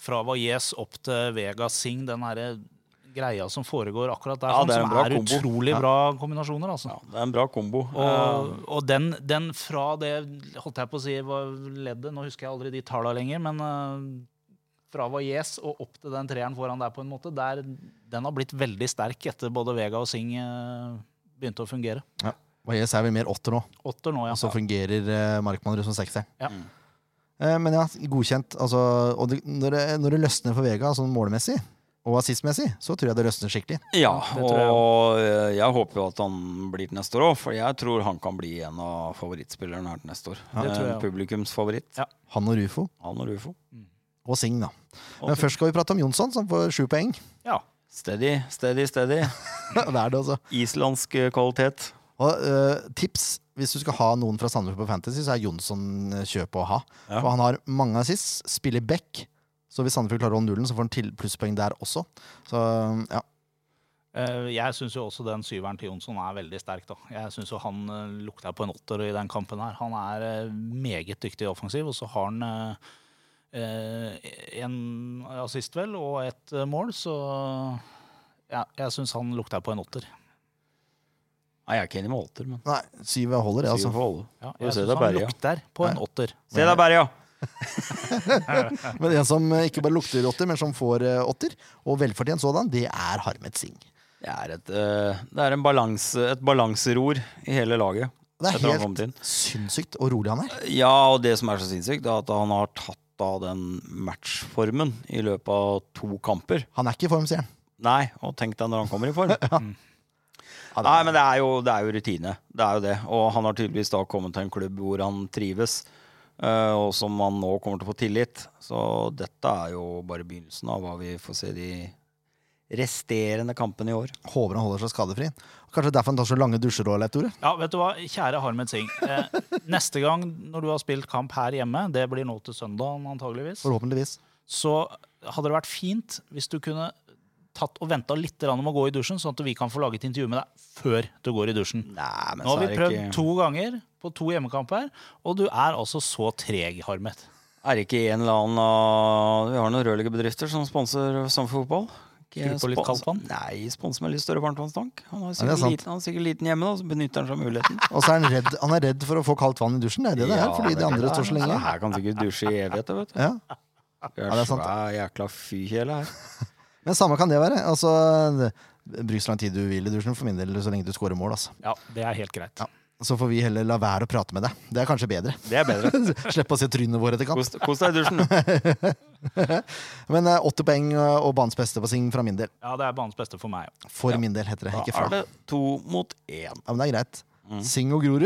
Speaker 1: fra Valles opp til Vega Singh, den herre greia som foregår akkurat der,
Speaker 3: Ja, det er
Speaker 1: sånn,
Speaker 3: en
Speaker 1: som
Speaker 3: bra
Speaker 1: er
Speaker 3: kombo.
Speaker 1: utrolig bra kombinasjoner. Altså.
Speaker 3: Ja, det er en bra kombo. Eh,
Speaker 1: Og, og den, den fra det holdt jeg på å si var leddet, nå husker jeg aldri de tallene lenger, men eh, fra Valles og opp til den treeren foran der, på en måte, der, den har blitt veldig sterk etter både Vega og Singh eh, begynte å fungere.
Speaker 2: Valles er vel mer åtter nå,
Speaker 1: Åtter nå, ja.
Speaker 2: og så fungerer eh, Markmannrud som sekser.
Speaker 1: Ja.
Speaker 3: Mm.
Speaker 2: Eh, men ja, godkjent. Altså, og det, når, det, når det løsner for Vega, sånn målmessig og assistmessig, så tror jeg det løsner skikkelig.
Speaker 3: Ja,
Speaker 1: det tror jeg
Speaker 3: og eh, jeg håper jo at han blir til neste år òg, for jeg tror han kan bli en av favorittspillerne her til neste år.
Speaker 1: det tror jeg
Speaker 3: En
Speaker 1: også.
Speaker 3: Publikumsfavoritt.
Speaker 1: Ja.
Speaker 2: Han og Rufo.
Speaker 3: Han og Rufo.
Speaker 2: Og Singh, da. Men
Speaker 3: Og
Speaker 2: først skal vi prate om Jonsson, som får sju poeng.
Speaker 1: ja.
Speaker 3: Steady, steady, steady.
Speaker 2: det er det, altså.
Speaker 3: Islandsk eh, kvalitet.
Speaker 2: Og eh, tips hvis du skal ha noen fra Sandefjord på Fantasy, så er Jonsson eh, kjøp å ha.
Speaker 3: Ja.
Speaker 2: For han har mange assists, spiller back. Så hvis Sandefjord klarer å holde nullen, så får han til plusspoeng der også. Så ja,
Speaker 1: Eh, Jeg syns jo også den syveren til Jonsson er veldig sterk. da. Jeg syns jo han eh, lukta på en åtter i den kampen her. Han er eh, meget dyktig offensiv, og så har han eh, eh, en assist, vel, og et eh, mål, så ja, jeg syns han lukta på en åtter.
Speaker 3: Nei, jeg er ikke enig med Holter, men
Speaker 2: nei, syv holder det, altså.
Speaker 3: Syv for alle.
Speaker 1: Ja,
Speaker 3: Og
Speaker 1: jeg
Speaker 3: se
Speaker 1: syns
Speaker 3: deg
Speaker 1: han
Speaker 3: Berge.
Speaker 1: lukter på en åtter.
Speaker 3: Se der, Berja!
Speaker 2: Men en som eh, ikke bare lukter åtter, men som får eh, åtter, og velfortjent sådan, det er Harmet Singh.
Speaker 3: Det er et, eh, det er en balanse, et balanseror i hele laget.
Speaker 2: Det
Speaker 3: Etter han
Speaker 2: er
Speaker 3: kom til.
Speaker 2: helt sinnssykt og rolig han er.
Speaker 3: Ja, og det som er så sinnssykt, er at han har tatt av den matchformen i løpet av to kamper.
Speaker 2: Han er ikke i form, sier han.
Speaker 3: Nei, og tenk deg når han kommer i form. Nei, men det er, jo, det er jo rutine. Det er jo det. Og han har tydeligvis da kommet til en klubb hvor han trives, eh, og som han nå kommer til å få tillit. Så dette er jo bare begynnelsen av hva vi får se de resterende kampene i år.
Speaker 2: Håper han holder seg skadefri. Kanskje derfor han tar så lange dusjer òg, Leif Tore.
Speaker 1: Ja, vet du hva, kjære Harmet Singh. Eh, neste gang når du har spilt kamp her hjemme, det blir nå til søndag antageligvis,
Speaker 2: Forhåpentligvis.
Speaker 1: så hadde det vært fint hvis du kunne tatt og venta litt grann med å gå i dusjen, sånn at vi kan få laget intervju med deg før du går i dusjen.
Speaker 3: Nei, men
Speaker 1: Nå har
Speaker 3: så
Speaker 1: vi
Speaker 3: er det
Speaker 1: prøvd
Speaker 3: ikke,
Speaker 1: to ganger på to hjemmekamper, og du er altså så treg, Harmet.
Speaker 3: er det ikke en eller annen av Vi har noen rørleggerbedrifter som sponser Samfunn Fotball. Ikke
Speaker 1: Skru på litt
Speaker 3: spons-
Speaker 1: kaldt vann?
Speaker 3: Nei, sponser med litt større varmtvannstank. Han har
Speaker 2: det er
Speaker 3: sikkert,
Speaker 2: sant.
Speaker 3: liten, han har sikkert liten hjemme, da, så benytter han seg av muligheten.
Speaker 2: Og så er han redd, han er redd for å få kaldt vann i dusjen, det er det det er,
Speaker 3: Ja,
Speaker 2: fordi
Speaker 3: men
Speaker 2: de andre
Speaker 3: det
Speaker 2: står så
Speaker 3: er-
Speaker 2: lenge.
Speaker 3: Det her kan sikkert dusje i evigheter, vet du.
Speaker 2: Ja.
Speaker 3: Det
Speaker 2: Ja, det
Speaker 3: er
Speaker 2: er sant.
Speaker 3: svær jækla fykjele her.
Speaker 2: Men samme kan det være. Altså, det- Bruk så lang tid du vil i dusjen, for min del, så lenge du scorer mål. Altså.
Speaker 1: Ja, det er helt greit.
Speaker 2: Ja. Så får vi heller la være å prate med deg. Det er kanskje bedre.
Speaker 3: Det er bedre.
Speaker 2: Slippe å se trynet vårt etter kamp.
Speaker 3: Kos kos deg i dusjen.
Speaker 2: Men eh, 80 poeng eh, og banens beste på Sing fra min del.
Speaker 1: Ja, det er banens beste for meg.
Speaker 2: For min del, heter det.
Speaker 3: Da
Speaker 2: Ikke
Speaker 3: er
Speaker 2: fra.
Speaker 3: det to mot én.
Speaker 2: Ja, men det er greit.
Speaker 3: Mm.
Speaker 2: Sing og Grorud.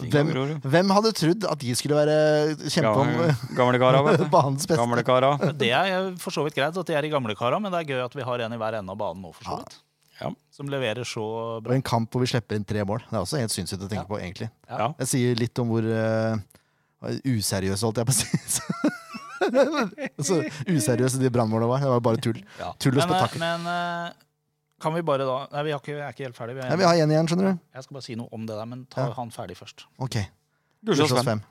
Speaker 2: Hvem,
Speaker 3: Grorud.
Speaker 2: hvem hadde trodd at de skulle være eh, kjempe om
Speaker 3: Gamle, gamle kara, vet du.
Speaker 2: banens beste?
Speaker 3: Gamle kara.
Speaker 1: Det er for så vidt greit at de er i gamlekara, men det er gøy at vi har en i hver ende av banen nå, for så vidt.
Speaker 3: Ja.
Speaker 1: Som leverer så
Speaker 2: Og
Speaker 1: bra.
Speaker 2: en kamp hvor vi slipper inn tre mål. Det er også helt sinnssykt å tenke på, egentlig.
Speaker 3: Ja.
Speaker 2: Jeg sier litt om hvor eh, useriøse, holdt jeg på å si. Så useriøse de brannmålene var. Det var bare tull.
Speaker 3: Ja.
Speaker 2: Tull og
Speaker 1: Men, eh,
Speaker 2: spetakkel.
Speaker 1: men eh, Kan vi bare da Nei, vi, har ikke, vi er ikke helt ferdig. Vi
Speaker 2: Nei,
Speaker 1: er,
Speaker 2: vi har én igjen, skjønner du.
Speaker 1: Jeg skal bare si noe om det der, men ta
Speaker 2: Ja.
Speaker 1: han ferdig først.
Speaker 2: Ok.
Speaker 3: Gulsås
Speaker 2: Gulsås
Speaker 3: fem.
Speaker 2: fem.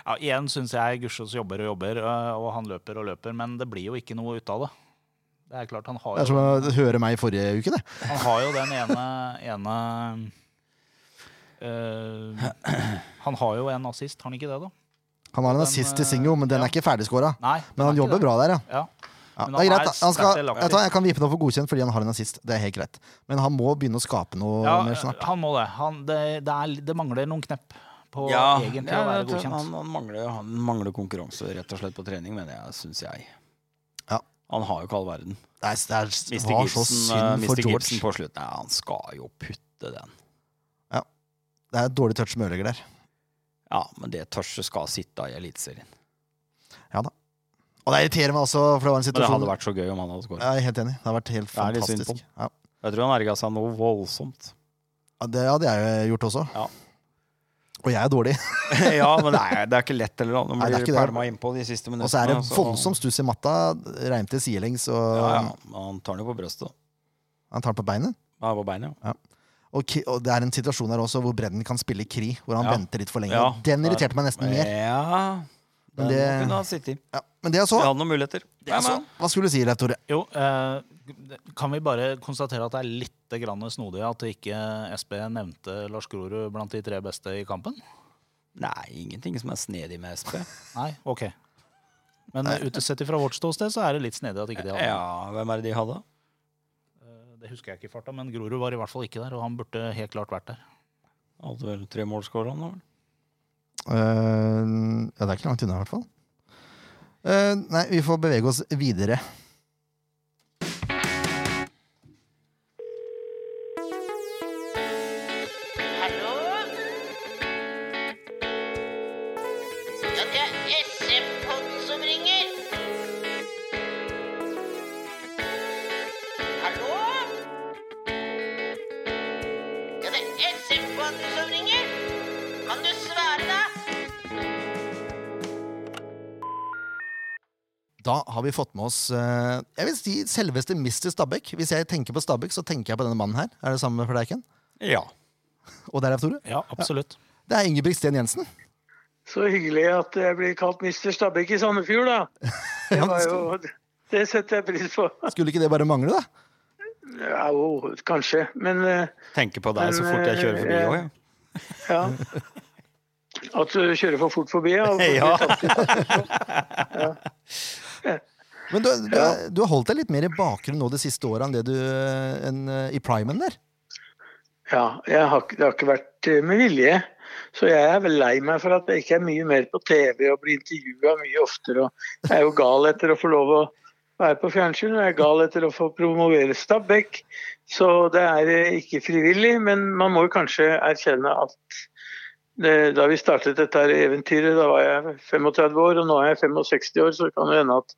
Speaker 1: Ja, igjen syns jeg Gusjås jobber og jobber, øh, og han løper og løper, men det blir jo ikke noe ut av det. Det er klart, han har
Speaker 2: Det er
Speaker 1: jo,
Speaker 2: som å høre meg i forrige uke, det.
Speaker 1: han har jo den ene, ene øh, Han har jo en assist, har han ikke det, da?
Speaker 2: Han har en
Speaker 1: Den,
Speaker 2: assist til
Speaker 1: eh,
Speaker 2: Singo, men den
Speaker 1: ja.
Speaker 2: er ikke ferdigskåra.
Speaker 1: Nei. det
Speaker 2: Men
Speaker 1: er
Speaker 2: han
Speaker 1: ikke
Speaker 2: jobber
Speaker 1: det.
Speaker 2: bra der, ja.
Speaker 1: Ja.
Speaker 2: ja.
Speaker 1: Men
Speaker 2: Det er
Speaker 1: han er
Speaker 2: greit. da. Han skal,
Speaker 1: sterkt delaktig.
Speaker 2: vet du hva, jeg kan vippe den opp for godkjent fordi han har en assist. Det er helt greit. Men han må begynne å skape noe
Speaker 1: Ja,
Speaker 2: mer snart.
Speaker 1: han må det. Han, det, det, er, det mangler noen knepp på
Speaker 3: Ja,
Speaker 1: egentlig
Speaker 3: ja,
Speaker 1: å være
Speaker 3: jeg tror
Speaker 1: godkjent.
Speaker 3: Han, han, mangler, han mangler konkurranse rett og slett på trening, mener jeg, syns jeg.
Speaker 2: Ja.
Speaker 3: Han har jo ikke all verden.
Speaker 2: Det, er, det er,
Speaker 3: Mr.
Speaker 2: var så
Speaker 3: Gibson, eh,
Speaker 2: synd for
Speaker 3: Mr. Gibson
Speaker 2: George.
Speaker 3: på slutten. Nei, han skal jo putte den.
Speaker 2: Det er et dårlig touch med ødelegger der.
Speaker 3: Ja, men det tørste skal sitte i Eliteserien.
Speaker 2: Og det irriterer meg også, for det var en
Speaker 3: Men det
Speaker 2: situasjon
Speaker 3: hadde vært så gøy om han hadde skåret.
Speaker 2: Jeg er helt enig. Det har vært helt
Speaker 3: Det er litt synd på
Speaker 2: fantastisk. Ja.
Speaker 3: Jeg tror han erga seg noe voldsomt.
Speaker 2: Ja, Det hadde jeg jo gjort også.
Speaker 3: Ja.
Speaker 2: Og jeg er dårlig.
Speaker 3: ja, men det er, det er ikke lett heller. Han
Speaker 2: Nei, det er
Speaker 3: blir
Speaker 2: ikke det.
Speaker 3: pælma innpå de siste minuttene.
Speaker 2: Og så er det
Speaker 3: så-
Speaker 2: voldsom stuss i matta. Reimte sidelengs, og
Speaker 3: altså. Ja, ja. men Han tar den jo på brøstet.
Speaker 2: han tar den på beinet.
Speaker 3: Ja, på beinet, ja.
Speaker 2: Og, Ki- og det er en situasjon her også hvor Bredden kan spille kri, hvor han
Speaker 3: Ja.
Speaker 2: venter litt for lenge.
Speaker 3: Ja.
Speaker 2: Den irriterte meg nesten mer.
Speaker 3: Ja,
Speaker 2: Men
Speaker 3: den
Speaker 2: det-
Speaker 3: kunne han sitte i.
Speaker 2: Ja. Men det jeg
Speaker 3: De
Speaker 2: så,
Speaker 3: hadde noen muligheter.
Speaker 2: det jeg
Speaker 3: Nei,
Speaker 2: så
Speaker 3: men-
Speaker 2: Hva skulle du si, Leif Tore?
Speaker 1: Jo, eh, kan vi bare konstatere at det er litt grann snodig at ikke SB nevnte Lars Grorud blant de tre beste i kampen?
Speaker 3: Nei, ingenting som er snedig med SP.
Speaker 1: Nei, ok. Men utesett fra vårt ståsted så er det litt snedig at ikke de hadde
Speaker 3: Ja, hvem er det de hadde?
Speaker 1: Eh, Det husker jeg ikke i farta, men Grorud var i hvert fall ikke der, og han burde helt klart vært der.
Speaker 3: Hadde vel tre målskårere, han da vel?
Speaker 2: Eh, ja, det er ikke langt unna, i hvert fall. Eh, nei, vi får bevege oss videre.
Speaker 4: Hallo? Ja, det er SF-podden som ringer. Hallo? Ja, det er SF-podden som ringer. Kan du svare, da?
Speaker 2: Da har vi fått med oss eh, Jeg vil si selveste Mr. Stabæk. Hvis jeg tenker på Stabæk, så tenker jeg på denne mannen her. Er det samme for deg, Ken?
Speaker 3: Ja.
Speaker 2: Og der, Leif Tore?
Speaker 1: Ja, absolutt.
Speaker 2: Det er Ingebrigtsen Jensen.
Speaker 5: Så hyggelig at jeg blir kalt Mr. Stabæk i Sandefjord, da. Det, var jo, det setter jeg pris på.
Speaker 2: Skulle ikke det bare mangle, da?
Speaker 5: Ja, jo, kanskje. Men eh,
Speaker 3: Tenker på deg så fort jeg kjører forbi òg, jeg.
Speaker 5: ja. At du kjører for fort forbi, ja.
Speaker 3: Ja.
Speaker 2: Men du, du, du har holdt deg litt mer i bakgrunnen nå det siste året enn det du enn, eh, i primen der.
Speaker 5: ja jeg har, ikke- det har ikke vært eh, med vilje. Så jeg er vel lei meg for at jeg ikke er mye mer på TV og blir intervjua mye oftere. Og jeg er jo gal etter å få lov å være på fjernsyn, og jeg er gal etter å få promovere Stabæk. Så det er eh, ikke frivillig, men man må jo kanskje erkjenne at det, da vi startet dette her eventyret, da var jeg 35 år, og nå er jeg 65 år, så det kan jo hende at,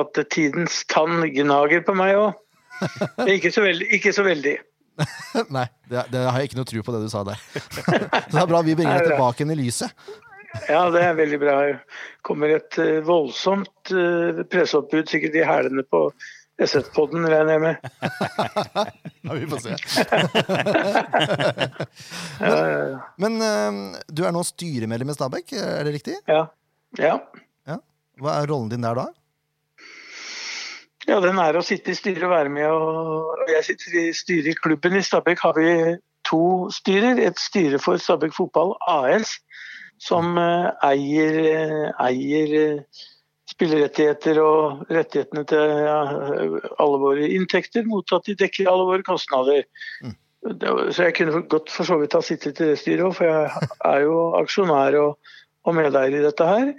Speaker 5: at tidens tann gnager på meg òg. Men ikke så veldig. Ikke så veldig.
Speaker 2: Nei, det, det har jeg ikke noe tro på det du sa der. Så det er bra vi bringer deg
Speaker 5: Nei, det er bra.
Speaker 2: tilbake inn i lyset.
Speaker 5: Ja, det er veldig bra. Det kommer et eh, voldsomt eh, presseoppbud, sikkert i hælene på SF-podden, regner jeg med.
Speaker 2: Ja, vi får se. Men, men eh, du er nå styremedlem i Stabæk, er det riktig?
Speaker 5: Ja. ja.
Speaker 2: Ja. Hva er rollen din der da?
Speaker 5: Ja, den er å sitte i styret og være med. Og og jeg sitter i styret i klubben i Stabæk. Har vi to styrer. Et styre for Stabæk Fotball AS, som eh, eier, eh, eier eh, spillerettigheter og rettighetene til ja, alle våre inntekter, mot at de dekker alle våre kostnader. Det- Så jeg kunne godt for så vidt ha sittet i det styret òg, for jeg er jo aksjonær og, og medeier i dette her.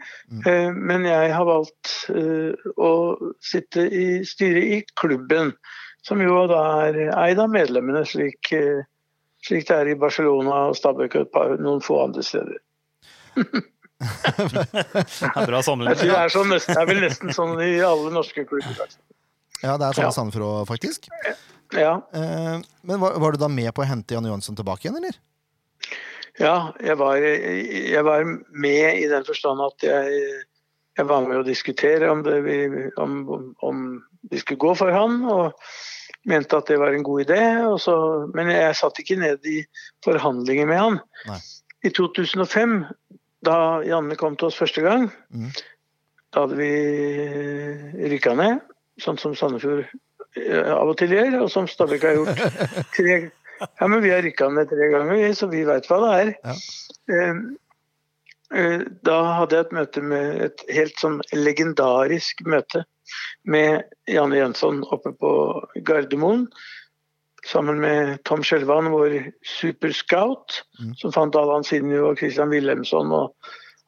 Speaker 5: Eh, Men jeg har valgt eh, å sitte i styret i klubben, som jo da er eid av medlemmene, slik, eh, slik det er i Barcelona og Stabæk og et par, noen få andre steder.
Speaker 3: Det er bra
Speaker 5: Jeg tror det
Speaker 3: sammenligning.
Speaker 5: er, sånn, nesten- det er vel nesten sånn i alle norske klubber. altså.
Speaker 2: Ja, det er sånn
Speaker 5: Ja.
Speaker 2: i Sandefjord også, faktisk.
Speaker 5: Ja,
Speaker 2: Eh, Men var, var du da med på å hente Jan Johansson tilbake igjen, eller?
Speaker 5: ja jeg, var, jeg var med i den forstand at jeg, jeg Jeg var med å diskutere om, det, vi- om, om, om vi skulle gå for han, og mente at det var en god idé. Og så, men jeg satt ikke ned i forhandlinger med han.
Speaker 2: Nei.
Speaker 5: I 2005, da Janne kom til oss første gang,
Speaker 2: Mhm.
Speaker 5: da hadde vi rykka ned, sånn som Sandefjord eh, av og til gjør, og som Stabæk har gjort tre Ja, men vi har rykka ned tre ganger, vi, så vi veit hva det er.
Speaker 2: Ja.
Speaker 5: Eh, eh, Da hadde jeg et møte med et helt sånn legendarisk møte med Janne Jønsson oppe på Gardermoen. Sammen med Tom Skjelvan, vår superscout,
Speaker 2: Mm.
Speaker 5: som fant Allan Sinjo og Christian Wilhelmsson og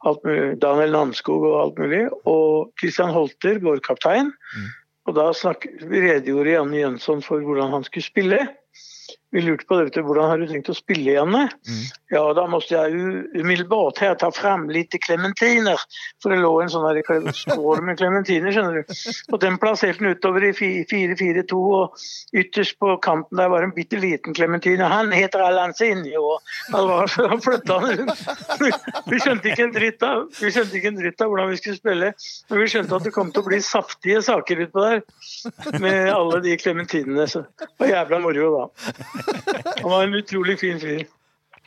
Speaker 5: alt mulig, Daniel Namskog og alt mulig. Og Christian Holter, vår kaptein.
Speaker 2: Mm.
Speaker 5: Og da snakk, redegjorde Janne Jønsson for hvordan han skulle spille. Vi lurte på det, vet du, hvordan har du tenkt å spille, Janne?
Speaker 2: Mm.
Speaker 5: Ja, da måtte jeg jo umiddelbart her ta fram litt klementiner. For det lå en sånn her kle- skål med klementiner, skjønner du. Og den plasserte han utover i fi- 4-4-2, og ytterst på kanten der var en bitte liten klementin. Og han heter Allan Sinjo, og han var- han flytta han rundt. Vi skjønte ikke en dritt av, vi skjønte ikke en dritt av hvordan vi skulle spille. Men vi skjønte at det kom til å bli saftige saker utpå der med alle de klementinene. Så det var jævla moro, da. Han var en utrolig fin fyr.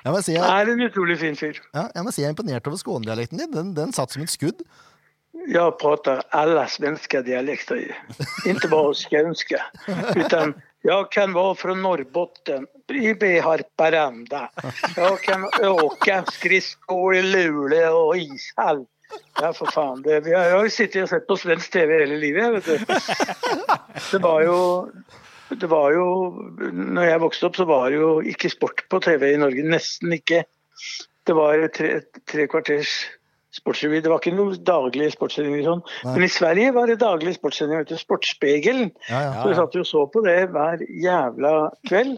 Speaker 2: Jeg må si jeg,
Speaker 5: Er en utrolig fin fyr.
Speaker 2: ja, jeg, må si jeg er imponert over skånedialekten din. Den, den satt som et skudd.
Speaker 5: Jag pratar alla svenska dialekter, ju. inte bara skånska. Utan jag kan vara från Norrbotten, bredvid Harparanda. Jag kan åka skridskor i Luleå och ishall. Ja, for faen. Det, vi har, jeg har jo sittet og sett på svensk TV hele livet. Vet du. Det var jo det var jo, når jeg vokste opp, så var det jo ikke sport på TV i Norge. Nesten ikke. Det var tre, tre kvarters sportsrevy. Det var ikke noen daglige sportssendinger. Sånn.
Speaker 2: Nei.
Speaker 5: Men i Sverige var det daglige sportssendinger. vet du, Sportsspegelen.
Speaker 2: Ja, ja.
Speaker 5: Så vi satt jo og så på det hver jævla kveld.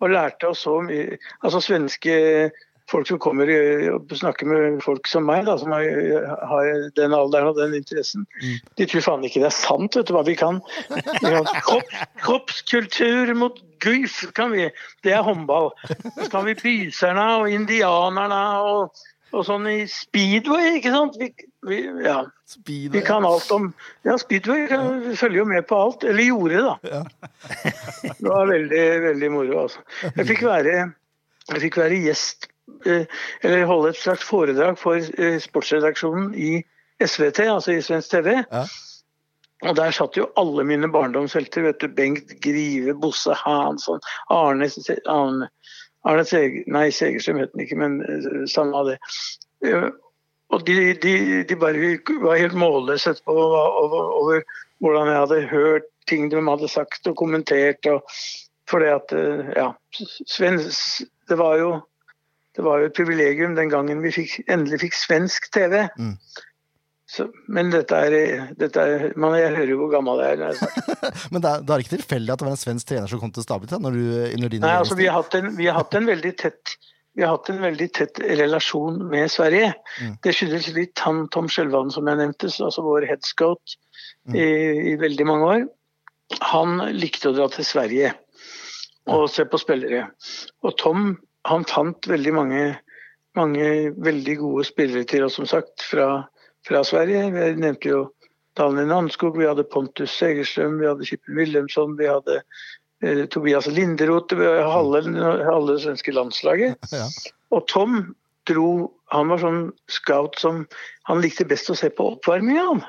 Speaker 5: Og lærte oss så mye Altså svenske folk som kommer i- og snakker med folk som meg, da, som har, har den alderen og den interessen,
Speaker 2: Mm.
Speaker 5: de tror faen ikke det er sant, vet du hva vi kan. Vi kan kropp, kroppskultur mot guif kan vi. Det er håndball. Så kan vi byserne og indianerne og, og sånn i speedway, ikke sant. Vi, vi, ja.
Speaker 2: Speed-
Speaker 5: Vi kan alt om Ja, Speedway kan- vi følger jo med på alt. Eller gjorde, da.
Speaker 2: Ja.
Speaker 5: Det var veldig, veldig moro, altså. Jeg fikk være, jeg fikk være gjest, eh, eller holde et slags foredrag for eh, sportsredaksjonen i SVT, altså i Svensk TV.
Speaker 2: Ja.
Speaker 5: Og der satt jo alle mine barndomshelter. vet du, Bengt Grive, Bosse Hansson, Arne, Se- Arne, Arne Seger, Nei, Segerstrøm het han ikke, men eh, samme av det. Eh, og de, de, de bare var helt målløse etterpå over, over, over hvordan jeg hadde hørt ting de hadde sagt og kommentert. Og, fordi at eh, Ja. Svensk, det var jo det var jo et privilegium den gangen vi fikk, endelig fikk svensk TV.
Speaker 2: Mm.
Speaker 5: Så, men dette er, dette er man, Jeg hører jo hvor gammel jeg er. altså. når jeg snakker.
Speaker 2: Men det er, det er ikke tilfeldig at det var en svensk trener som kom til Stabita? Når du, når din
Speaker 5: Nei, altså, vi, har hatt en, vi har hatt en veldig tett vi har hatt en veldig tett relasjon med Sverige.
Speaker 2: Mm.
Speaker 5: Det skyldes litt han Tom Skjelvan som jeg nevnte, så- altså vår headscout
Speaker 2: Mm.
Speaker 5: i, i veldig mange år. Han likte å dra til Sverige og se på spillere. Og Tom han fant veldig mange, mange veldig gode spillere til oss, som sagt, fra, fra Sverige. Jeg nevnte jo Daniel Nanskog, vi hadde Pontus Segerstrøm, vi hadde Kippen Wilhelmsson, vi hadde eh, Tobias Linderoth, vi hadde halve, halve det svenske landslaget.
Speaker 2: Ja.
Speaker 5: Og Tom dro Han var sånn scout som han likte best å se på oppvarminga, han.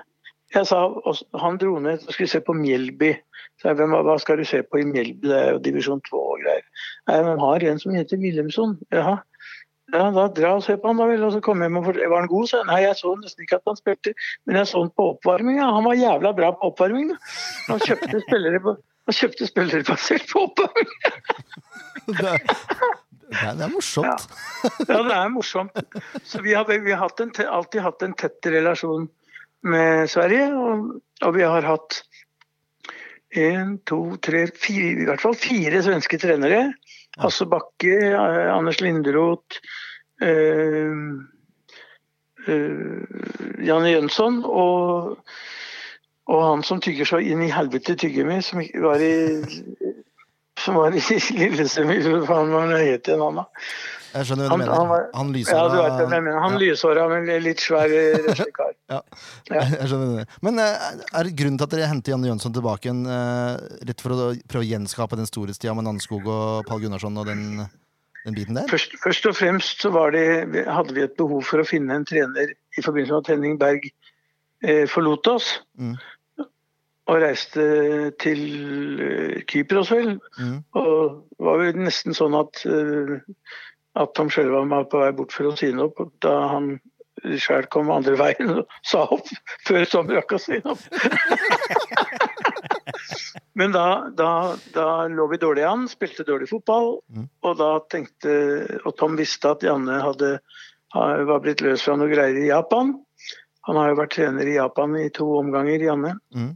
Speaker 5: Jeg sa, og han dro ned og skulle se på Mjelby. Så jeg, hvem, hva skal du se på i Mjelby, det er jo divisjon 2 og greier. Nei, men har en som heter Wilhelmsson. Jaha. Ja, da dra og se på han da vel, og så kom jeg hjem og fortelle. Var han god, sa jeg. Nei, jeg så nesten ikke at han spilte, men jeg så han på oppvarminga. Han var jævla bra på oppvarminga. Han kjøpte spillere på han kjøpte spillere basert på oppvarming!
Speaker 2: det, er, det, er, det er morsomt.
Speaker 5: Ja, det er morsomt. Så vi har, vi har hatt en, te- alltid hatt en tett relasjon med Sverige, og, og vi har hatt en, to, tre, fire, i hvert fall fire svenske trenere. Hasse Bakke, eh, Anders Linderoth, eh, eh, Janne Jønsson og, og han som tygger så inn i helvete tyggegummi, som ikke var i som var i Lillesund. Hva faen var han het igjen, han da?
Speaker 2: Jeg skjønner hva
Speaker 5: Han-
Speaker 2: du
Speaker 5: han
Speaker 2: mener.
Speaker 5: var-
Speaker 2: Han lyser
Speaker 5: Ja, du vet hvem jeg mener. Han lyshåra, men litt svær eh, røslig kar.
Speaker 2: Ja.
Speaker 5: Ja.
Speaker 2: Jeg skjønner det. Men eh, er det grunnen til at dere henter Janne Jønsson tilbake igjen, eh, rett for å da prøve å gjenskape den storhetstida med Nannskog og Pall Gunnarsson og den, den biten der?
Speaker 5: Først, først og fremst så var det, hadde vi et behov for å finne en trener i forbindelse med at Henning Berg eh, forlot oss.
Speaker 2: Mm.
Speaker 5: Og reiste til eh, Kypros, vel.
Speaker 2: Mm.
Speaker 5: Og det var jo nesten sånn at, eh, at han sjøl var på vei bort for å si noe på- da han sjøl kom andre veien og sa opp før Tom rakk å si noe. Men da, da, da lå vi dårlig an, spilte dårlig fotball.
Speaker 2: Mm.
Speaker 5: Og da tenkte Og Tom visste at Janne hadde, ha- var blitt løs fra noe greier i Japan. Han har jo vært trener i Japan i to omganger, Janne.
Speaker 2: Mm.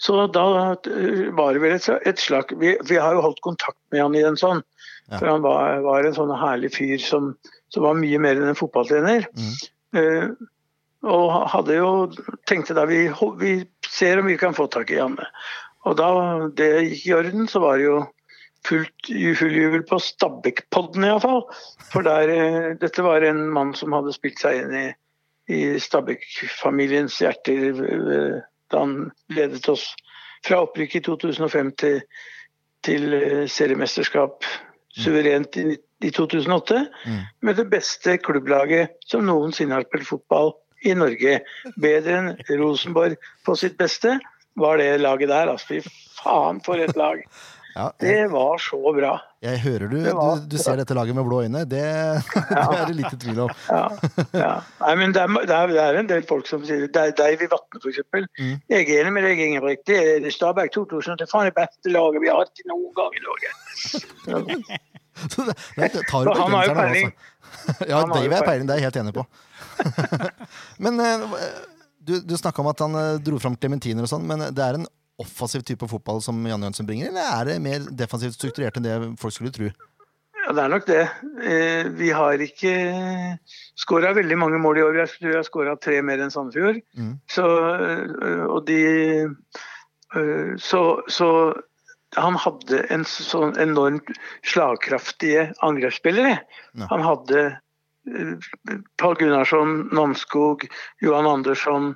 Speaker 5: Så da eh, var det vel et, et slag vi, vi har jo holdt kontakt med han i en sånn.
Speaker 2: Ja.
Speaker 5: For han var, var en sånn herlig fyr som, som var mye mer enn en fotballtrener. Eh, og hadde jo tenkte da vi, ho- vi ser om vi kan få tak i Janne. Og da det gikk i orden, så var det jo fullt ju- full jubel på Stabæk-podden iallfall. For der, eh, dette var en mann som hadde spilt seg inn i, i Stabæk-familiens hjerter eh, da han ledet oss fra opprykk i 2005 til, til eh, seriemesterskap suverent i, i 2008
Speaker 2: Mm.
Speaker 5: med det beste klubblaget som noensinne har spilt fotball i Norge. Bedre enn Rosenborg på sitt beste var det laget der. Altså, fy faen for et lag.
Speaker 2: Ja, jeg,
Speaker 5: Det var så bra.
Speaker 2: jeg hører du,
Speaker 5: det var-
Speaker 2: du, du ser dette laget med blå øyne. Det, det er det litt i tvil om.
Speaker 5: Ja, ja. Nei, men det, er, det, er, det er en del folk som sier det er deg i Vatne, f.eks.
Speaker 2: Mm.
Speaker 5: Jeg er enig med deg, Ingebrigt. Det er det Stabæk 2000. Det er faen det beste laget vi har hatt noen gang i Norge.
Speaker 2: Så det, det tar du
Speaker 5: Og
Speaker 2: på
Speaker 5: han har jo
Speaker 2: genseren,
Speaker 5: peiling.
Speaker 2: altså. Ja,
Speaker 5: Han har jo
Speaker 2: Dave er
Speaker 5: peiling.
Speaker 2: peiling, det er jeg helt enig på. Men eh, du, du snakka om at han eh, dro fram klementiner og sånn, men det er en offensiv type fotball som Janne Jønsson bringer, eller er det mer defensivt strukturert enn det folk skulle tro?
Speaker 5: Ja, det er nok det. Eh, Vi har ikke skåra veldig mange mål i år. Jeg tror jeg har skåra tre mer enn Sandefjord.
Speaker 2: Mm.
Speaker 5: Så, eh, og de eh, så, så han hadde en sånn enormt slagkraftige angrepsspillere.
Speaker 2: Ja.
Speaker 5: Han hadde eh, Pål Gunnarsson, Namskog, Johan Andersson.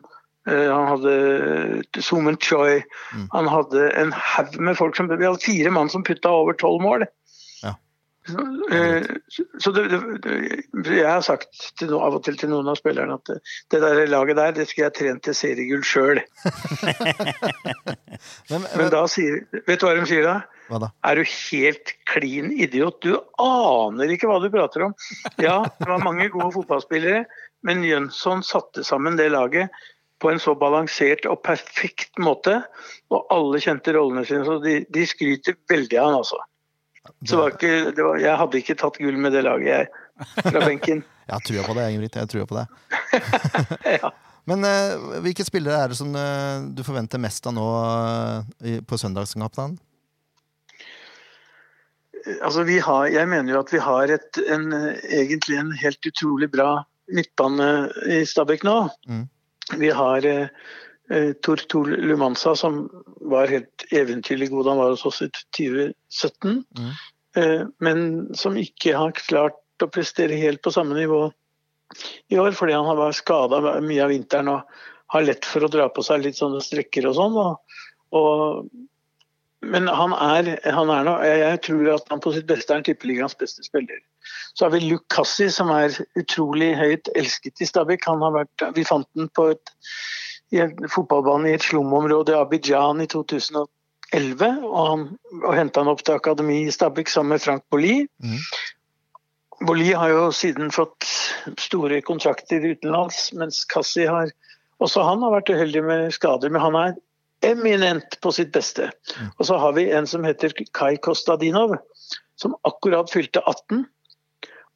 Speaker 5: eh, Han hadde Sumen Choi.
Speaker 2: Mm.
Speaker 5: Han hadde en haug med folk som Vi hadde fire mann som putta over tolv mål. Så, eh, så det, det, det- jeg har sagt til no, av og til til noen av spillerne at det, det der laget der, det skulle jeg trent til seriegull sjøl.
Speaker 2: Men,
Speaker 5: Men
Speaker 2: men,
Speaker 5: da sier Vet du hva de sier da?
Speaker 2: hva da?
Speaker 5: Er du helt klin idiot? Du aner ikke hva du prater om. Ja, det var mange gode fotballspillere, men Jønsson satte sammen det laget på en så balansert og perfekt måte, og alle kjente rollene sine. Så de, de skryter veldig av han, altså. Så det var ikke, det var, jeg hadde ikke tatt gull med det laget, jeg, fra benken.
Speaker 2: Jeg har trua på det, Ingebrigt. Jeg har trua på det.
Speaker 5: Ja.
Speaker 2: Men eh, hvilke spillere er det som eh, du forventer mest av nå eh, i- på søndagskampen?
Speaker 5: Altså, vi har, jeg mener jo at vi har et, en, eh, egentlig en helt utrolig bra midtbane i Stabæk nå.
Speaker 2: Mm.
Speaker 5: Vi har eh, eh, Tortol Lumansa, som var helt eventyrlig god. Han var hos oss i 2017.
Speaker 2: Mm.
Speaker 5: Eh, men som ikke har klart å prestere helt på samme nivå i år, fordi han har vært skada mye av vinteren og har lett for å dra på seg litt sånne strekker og sånn. Og, og men han er, han er nå, jeg, jeg tror at han på sitt beste er en tippeligaens beste spiller. Så har vi Luke Cassi, som er utrolig høyt elsket i Stabæk. Han har vært, vi fant den på et, i en fotballbane i et slumområde i Abidjan i 2011. Og, han- og henta han opp til akademi i Stabæk sammen med Frank Bolli.
Speaker 2: Mhm.
Speaker 5: Bolli har jo siden fått store kontrakter utenlands, mens Cassi har Også han har vært uheldig med skader, men han er eminent på sitt beste. Og så har vi en som heter Kai Kostadinov, som akkurat fylte 18.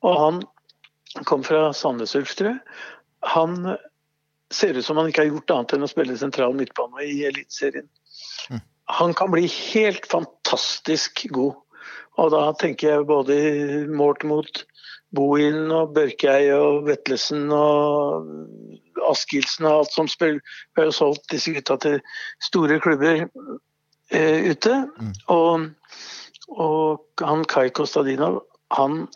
Speaker 5: Og han kom fra Sandnes Ulf, tror jeg. Han ser ut som han ikke har gjort annet enn å spille sentral midtbane i Eliteserien. Han kan bli helt fantastisk god. Og da tenker jeg både målt mot Bohin og Børkei og Vetlesen og Askildsen og alt som spiller. Vi har jo solgt disse gutta til store klubber eh, ute.
Speaker 2: Mm.
Speaker 5: Og, Og han Kai Kostadinov, han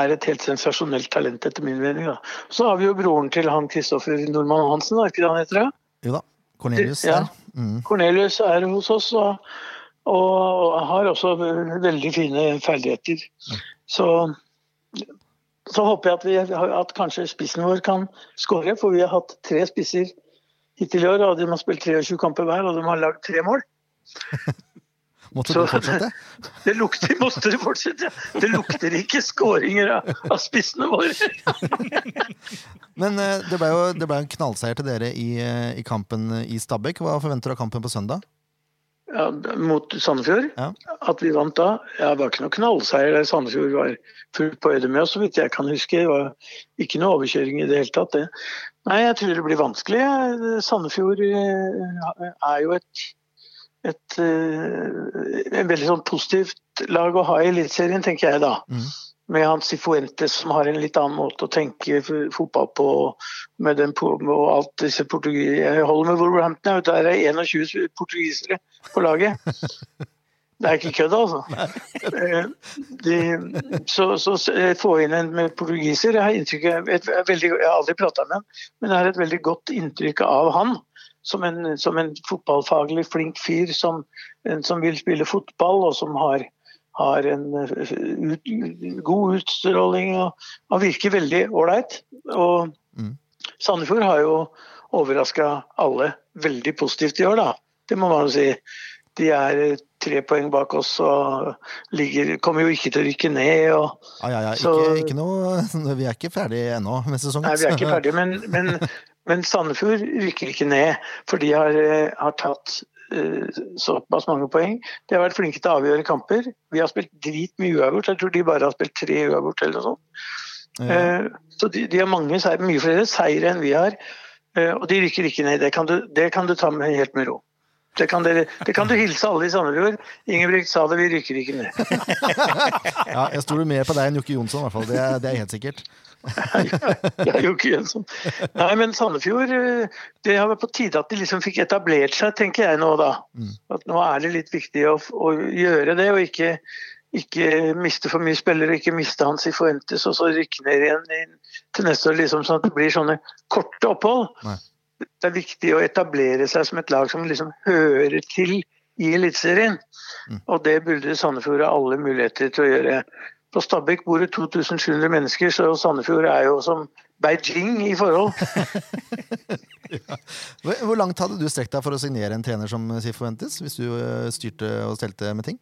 Speaker 5: er et helt sensasjonelt talent, etter min mening. Da. Så har vi jo broren til han Kristoffer Nordmann Hansen, er ikke det han heter? da?
Speaker 2: Jo da. Cornelius
Speaker 5: Ja.
Speaker 2: der. Mm.
Speaker 5: Cornelius er hos oss og, og har også veldig fine ferdigheter. Så, så håper jeg at, vi, har- at kanskje spissen vår kan skåre, for vi har hatt tre spisser hittil i år. Og de har spilt 23 kamper hver, og de har lagd tre mål.
Speaker 2: Måtte
Speaker 5: Så-
Speaker 2: du fortsette?
Speaker 5: Det lukter, måtte det fortsette, det lukter ikke skåringer av, av spissene våre.
Speaker 2: Men eh, det ble jo det ble en knallseier til dere i, eh, i kampen i Stabæk. Hva forventer du av kampen på søndag?
Speaker 5: Ja, mot Sandefjord,
Speaker 2: Ja.
Speaker 5: at vi vant da. Ja, det var ikke noe knallseier der Sandefjord var fullt på øyde med oss, så vidt jeg kan huske. Det var ikke noe overkjøring i det hele tatt. Det. Nei, jeg tror det blir vanskelig. Sandefjord eh, er jo et, et, eh, en veldig sånn positivt lag å ha i Eliteserien, tenker jeg da.
Speaker 2: Mhm.
Speaker 5: Med han Sifuentes som har en litt annen måte å tenke f- fotball på. Med den på, og alt disse portugis... Jeg holder med Wolverhampton, jeg, der er 21 portugisere på laget. Det er ikke kødd, altså. Eh, De, så, så s- eh, få inn en med portugiser Jeg har inntrykk av et, et veldig, Jeg har aldri prata med han, men jeg har et veldig godt inntrykk av han. Som en, som en fotballfaglig flink fyr som, en som vil spille fotball, og som har, har en eh, ut, god utstråling og, og virker veldig ålreit. Og
Speaker 2: Mm.
Speaker 5: Sandefjord har jo overraska alle veldig positivt i år, da. Det må man jo si. De er eh, tre poeng bak oss og ligger, kommer jo ikke til å rykke ned. og
Speaker 2: Ja, ja, ja. Ikke,
Speaker 5: Så-
Speaker 2: ikke noe Vi er ikke ferdig ennå med sesongen.
Speaker 5: Nei, vi er ikke ferdige, men, men, men Sandefjord rykker ikke ned. For de har, eh, har tatt eh, såpass mange poeng. De har vært flinke til å avgjøre kamper. Vi har spilt drit med uavgjort. Jeg tror de bare har spilt tre uavgjort eller noe sånt.
Speaker 2: Ja.
Speaker 5: Eh, Så de, de har mange seier, mye flere seire enn vi har. eh, Og de rykker ikke ned. Det kan du, det kan du ta med helt med ro. Det kan, dere, det kan du hilse alle i Sandefjord. Ingebrigt sa det, vi rykker ikke ned.
Speaker 2: ja, jeg stoler mer på deg enn Jokke Jonsson, i hvert fall. Det, er- det er helt sikkert.
Speaker 5: Det er jo ikke en sånn. Nei, men Sandefjord eh, Det har vært på tide at de liksom fikk etablert seg, tenker jeg nå, da.
Speaker 2: Mm.
Speaker 5: At nå er det litt viktig å, å gjøre det, og ikke, ikke miste for mye spillere. Ikke miste hans i Fuentes, og så rykke ned igjen i, til neste år, liksom, sånn at det blir sånne korte opphold.
Speaker 2: Nei.
Speaker 5: Det er viktig å etablere seg som et lag som liksom hører til i Eliteserien.
Speaker 2: Mm.
Speaker 5: Og det burde Sandefjord ha alle muligheter til å gjøre. På Stabæk bor det 2700 mennesker, så Sandefjord er jo som Beijing i forhold.
Speaker 2: Hvor hvor langt hadde du strekt deg for å signere en trener som Sifuentes, hvis du eh, styrte og stelte med ting?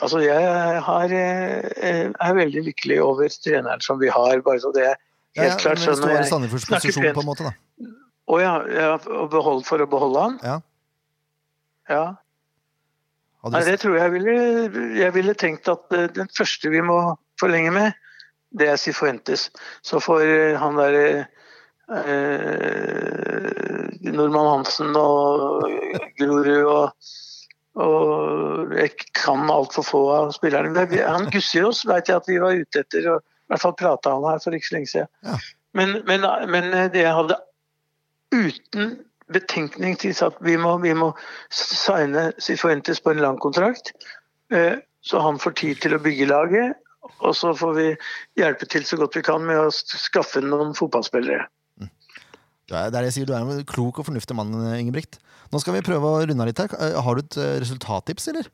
Speaker 5: Altså, jeg har, eh, er veldig lykkelig over treneren som vi har, bare så det er helt klart.
Speaker 2: men hvis du
Speaker 5: skjønner
Speaker 2: var i
Speaker 5: jeg.
Speaker 2: Sandefjords
Speaker 5: snakker
Speaker 2: posisjon,
Speaker 5: pent.
Speaker 2: på en måte, da.
Speaker 5: Å ja, ja, å beholde for å beholde han?
Speaker 2: Ja.
Speaker 5: Ja.
Speaker 2: Hadde
Speaker 5: Nei,
Speaker 2: du,
Speaker 5: det tror jeg ville Jeg ville tenkt at eh, den første vi må forlenge med, det er Sifuentes. Så får eh, han der eh, Normann Hansen og Grorud og, og Jeg kan altfor få av spillerne. Men vi- Han Gussiås vet jeg at vi var ute etter, og i hvert fall prata han her for ikke så lenge siden.
Speaker 2: Ja.
Speaker 5: Men, men, men eh, det jeg hadde uten betenkning til at vi må, vi må signe Sifuentes på en lang kontrakt. eh, Så han får tid til å bygge laget. Og så får vi hjelpe til så godt vi kan med å skaffe noen fotballspillere.
Speaker 2: du er, det er det jeg sier, du er en klok og fornuftig mann, eh, Ingebrigt. Nå skal vi prøve å runde av litt her. Eh, Har du et eh, resultattips, eller?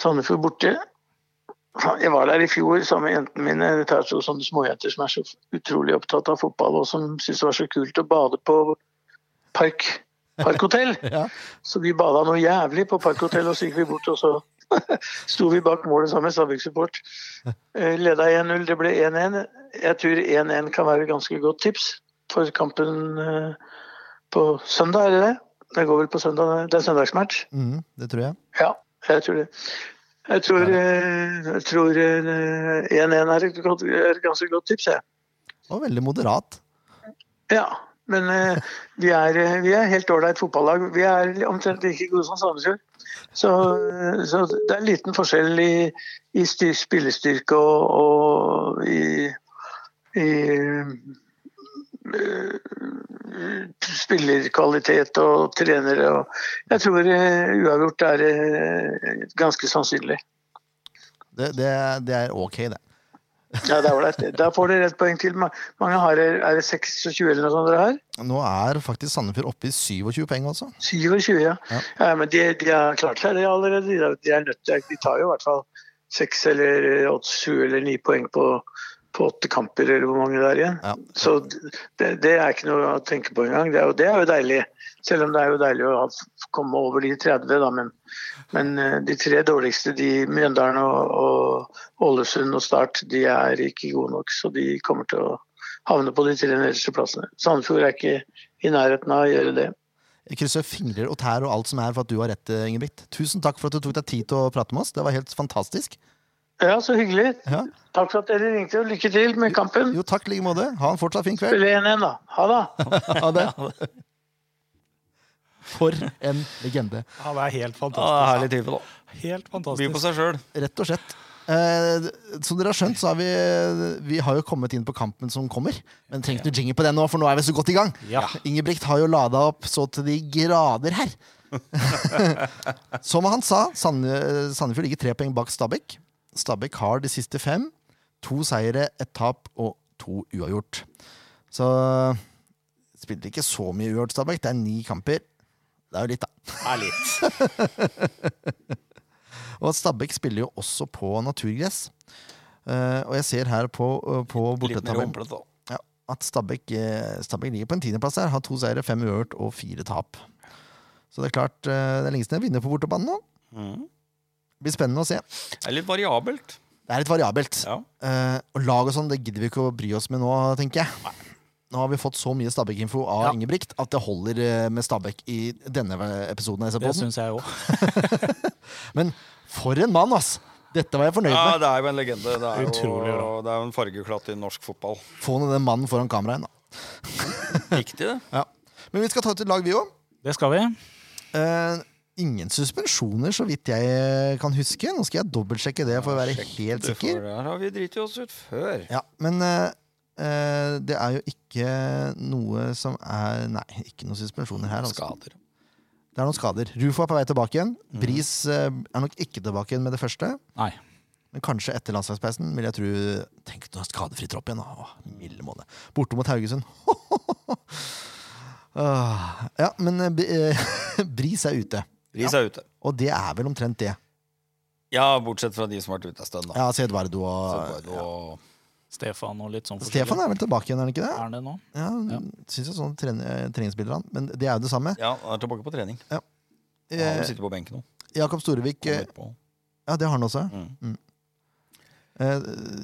Speaker 5: Sandefjord borte. Jeg var der i fjor sammen med jentene mine. Dette er to sånne småjenter som er så utrolig opptatt av fotball, og som syns det var så kult å bade på Park, Parkhotell.
Speaker 2: Ja.
Speaker 5: Så vi bada noe jævlig på Parkhotell, og så gikk vi bort, og så sto vi bak målet sammen med Stabæk-support. Eh, Leda 1-0, det ble 1-1. Jeg tror 1-1 kan være et ganske godt tips for kampen eh, på søndag, er det det? Det går vel på søndag, det er søndagsmatch?
Speaker 2: Mhm, det tror jeg.
Speaker 5: Ja, jeg tror det. Jeg tror eh, jeg tror, eh, 1-1 er et godt- er et ganske godt tips, jeg.
Speaker 2: Og veldig moderat.
Speaker 5: Ja, men eh, vi, er, eh, vi er helt ålreit fotballag. Vi er omtrent like gode som Sandefjord. Så, eh, så det er liten forskjell i, i styr, spillestyrke og, og i, i eh, spillerkvalitet og trenere. Og jeg tror eh, uavgjort er eh, ganske sannsynlig.
Speaker 2: Det, det, det er ok, det.
Speaker 5: Ja, det er ålreit. Da får dere et poeng til. Ma- mange har Er det 26 eller noe sånt dere har?
Speaker 2: Nå er faktisk Sandefjord oppe i 27 poeng, altså.
Speaker 5: 27, ja.
Speaker 2: Ja.
Speaker 5: ja. men de, de har klart seg det allerede. De er- De er nødt til De tar jo i hvert fall seks eller åtte, sju eller ni poeng på, på åtte kamper, eller hvor mange det er igjen.
Speaker 2: Ja.
Speaker 5: Så det, det er ikke noe å tenke på engang. Det er jo, det er jo deilig. Selv om det er jo deilig å ha, komme over de 30, da. Men, men eh, de tre dårligste, de Mjøndalen og, og Ålesund og Start, de er ikke gode nok. Så de kommer til å havne på de tre nederste plassene. Sandefjord er ikke i nærheten av å gjøre det.
Speaker 2: Jeg krysser fingrer og tær og alt som er for at du har rett, eh, Ingebrigt. Tusen takk for at du tok deg tid til å prate med oss. Det var helt fantastisk.
Speaker 5: Ja, så hyggelig.
Speaker 2: Ja.
Speaker 5: Takk for at dere ringte, og lykke til med kampen.
Speaker 2: Jo, takk i like måte. Ha en fortsatt fin kveld.
Speaker 5: Spille 1-1, da. Ha det.
Speaker 2: Ha det. For en legende.
Speaker 1: Han er helt
Speaker 3: Ja, det er
Speaker 1: fantastisk.
Speaker 3: herlig type, da.
Speaker 1: Helt
Speaker 3: By på
Speaker 1: fantastisk.
Speaker 3: seg sjøl.
Speaker 2: Rett og slett. Eh, som dere har skjønt, så har vi Vi har jo kommet inn på kampen som kommer. Men trenger ikke jingle på den nå, for nå er vi så godt i gang.
Speaker 1: Ja.
Speaker 2: Ingebrigt har jo lada opp så til de grader her. som han sa, Sande- Sandefjord ligger tre poeng bak Stabæk. Stabæk har de siste fem. To seire, ett tap og to uavgjort. Så spiller ikke så mye uavgjort, Stabæk. Det er ni kamper. Det er jo litt, da.
Speaker 1: Er litt.
Speaker 2: Og Stabæk spiller jo også på naturgress. Eh, og jeg ser her på, eh, på
Speaker 3: Litt mer
Speaker 2: bortetabellen
Speaker 3: rumplete, da.
Speaker 2: ja, at Stabæk, eh, Stabæk ligger på en tiendeplass her. Har to seire, fem uørt og fire tap. Så det er klart eh, det er lenge siden jeg vinner på bortebane nå.
Speaker 3: Mhm.
Speaker 2: Det blir spennende å se.
Speaker 3: Det er litt variabelt.
Speaker 2: Det er litt variabelt.
Speaker 3: Ja.
Speaker 2: Eh, og lag og sånn det gidder vi ikke å bry oss med nå, tenker jeg. Nå har vi fått så mye Stabæk-info av
Speaker 1: Ja.
Speaker 2: Ingebrigt at det holder eh, med Stabæk i denne episoden. av SR
Speaker 1: Det
Speaker 2: Podden.
Speaker 1: syns jeg òg.
Speaker 2: Men for en mann, ass! Dette var jeg fornøyd
Speaker 3: ja,
Speaker 2: med.
Speaker 3: det er jo en legende. Det er jo,
Speaker 1: Utrolig bra.
Speaker 3: det er jo en fargeklatt i norsk fotball.
Speaker 2: Få ned den mannen foran kameraet. igjen, da.
Speaker 3: Viktig, det.
Speaker 2: Ja. Men vi skal ta ut et lag, vi òg.
Speaker 1: Det skal vi.
Speaker 2: Eh, ingen suspensjoner, så vidt jeg kan huske. Nå skal jeg dobbeltsjekke det for å være helt
Speaker 3: Det får-
Speaker 2: sikker.
Speaker 3: Der har vi driti oss ut før.
Speaker 2: Ja, Men eh, eh, det er jo ikke noe som er Nei, ikke noen suspensjoner her. Altså.
Speaker 3: Skader. Mhm.
Speaker 2: Det er noen skader. Rufo er på vei tilbake igjen. Bris eh, er nok ikke tilbake igjen med det første.
Speaker 1: Nei.
Speaker 2: Men kanskje etter landslagspausen vil jeg tro Tenk når skadefri tropp igjen, da. Åh, milde måned. Borte mot Haugesund. Ah, ja, men eh, B- eh, Bris er ute.
Speaker 3: Riis er ute.
Speaker 2: Og det er vel omtrent det.
Speaker 3: Ja, bortsett fra de som har vært ute en stund, da.
Speaker 2: Ja, altså Eduardo
Speaker 3: Så
Speaker 2: og
Speaker 3: bare å-
Speaker 1: Stefan og litt sånn
Speaker 2: Stefan er vel tilbake igjen, er han ikke
Speaker 1: Er
Speaker 2: det?
Speaker 1: han det nå?
Speaker 2: Ja,
Speaker 1: Ja.
Speaker 2: Syns jeg sånn trening, treningsspiller han. Men det er jo det samme.
Speaker 3: Ja, han er tilbake på trening. Han
Speaker 2: Eh,
Speaker 3: sitter på benken nå.
Speaker 2: Jakob Storevik eh,
Speaker 3: Kommer på.
Speaker 2: Ja, det har han også.
Speaker 3: Mm.
Speaker 2: Eh,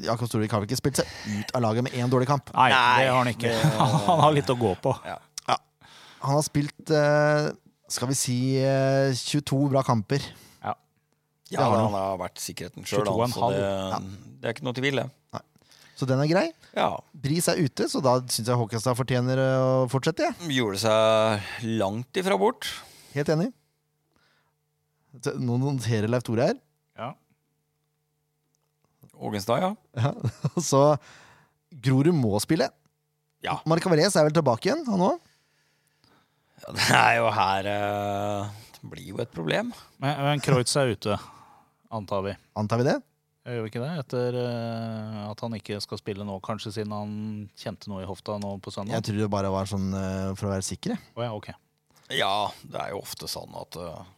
Speaker 2: Jakob Storevik har vel ikke spilt seg ut av laget med én dårlig kamp.
Speaker 1: Nei,
Speaker 3: Nei.
Speaker 1: det har han ikke.
Speaker 3: Det-
Speaker 1: Han har litt å gå på.
Speaker 2: Han har spilt eh, skal vi si eh, 22 bra kamper.
Speaker 3: Ja,
Speaker 2: har han.
Speaker 3: han har vært sikkerheten sjøl,
Speaker 1: 22,5.
Speaker 3: så det, det er ikke noe tvil, det.
Speaker 2: Så den er grei.
Speaker 3: Ja.
Speaker 2: Bris er ute, så da syns jeg Håkestad fortjener eh, å fortsette. jeg.
Speaker 3: Gjorde seg langt ifra bort.
Speaker 2: Helt enig. Så Nå noterer Leif Tore her.
Speaker 1: Ja.
Speaker 3: Ågenstad, ja.
Speaker 2: Ja, og så Grorud må spille.
Speaker 3: Ja.
Speaker 2: Marcavarez er vel tilbake igjen, han òg?
Speaker 3: ja. Det er jo her eh, Det blir jo et problem.
Speaker 1: Men, men Kreutz er ute, antar vi.
Speaker 2: Antar vi det?
Speaker 1: Gjør vi ikke det? Etter eh, at han ikke skal spille nå, kanskje siden han kjente noe i hofta nå på
Speaker 2: Jeg
Speaker 1: søndag?
Speaker 2: tror det bare var sånn eh, for å være sikre.
Speaker 1: Å ja, ok.
Speaker 3: Ja, det er jo ofte sånn at eh,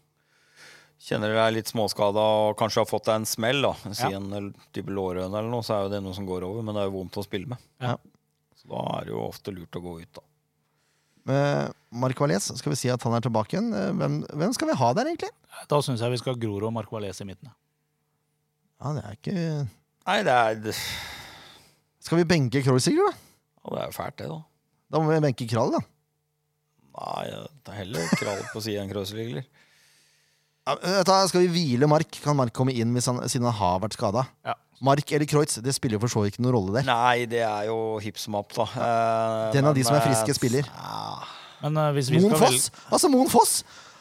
Speaker 3: Kjenner du deg litt småskada og kanskje har fått deg en smell, da si
Speaker 1: Ja.
Speaker 3: en l- type lårhøne eller noe, så er jo det noe som går over, men det er jo vondt å spille med.
Speaker 1: Ja.
Speaker 3: Så da er det jo ofte lurt å gå ut, da.
Speaker 2: Uh, Marcavarez, skal vi si at han er tilbake igjen? Eh, hvem, hvem skal vi ha der, egentlig?
Speaker 1: Da syns jeg vi skal ha Grorud og Marco Valles i midten. ja.
Speaker 2: Ja, det er ikke
Speaker 3: Nei, det er, det
Speaker 2: Skal vi benke Kroll, Sigurd? Da
Speaker 3: ja, det er jo fælt, det, da.
Speaker 2: Da må vi benke Krall, da.
Speaker 3: Nei, eh, det er heller krall på sida enn krøsligler.
Speaker 2: Ja, vet du hva, skal vi hvile Mark? Kan Mark komme inn hvis han, siden han har vært skada?
Speaker 1: Ja.
Speaker 2: Mark eller Kreutz, det spiller jo for så vidt ikke noen rolle der.
Speaker 3: Nei, det er jo hipp som happ, da. Eh,
Speaker 2: Den av de
Speaker 3: men,
Speaker 2: som er
Speaker 3: eh,
Speaker 2: friske, spiller.
Speaker 3: Ja,
Speaker 1: Men eh, hvis vi
Speaker 2: Moen
Speaker 1: skal
Speaker 2: Foss!
Speaker 1: velge
Speaker 2: Altså, Moen Foss!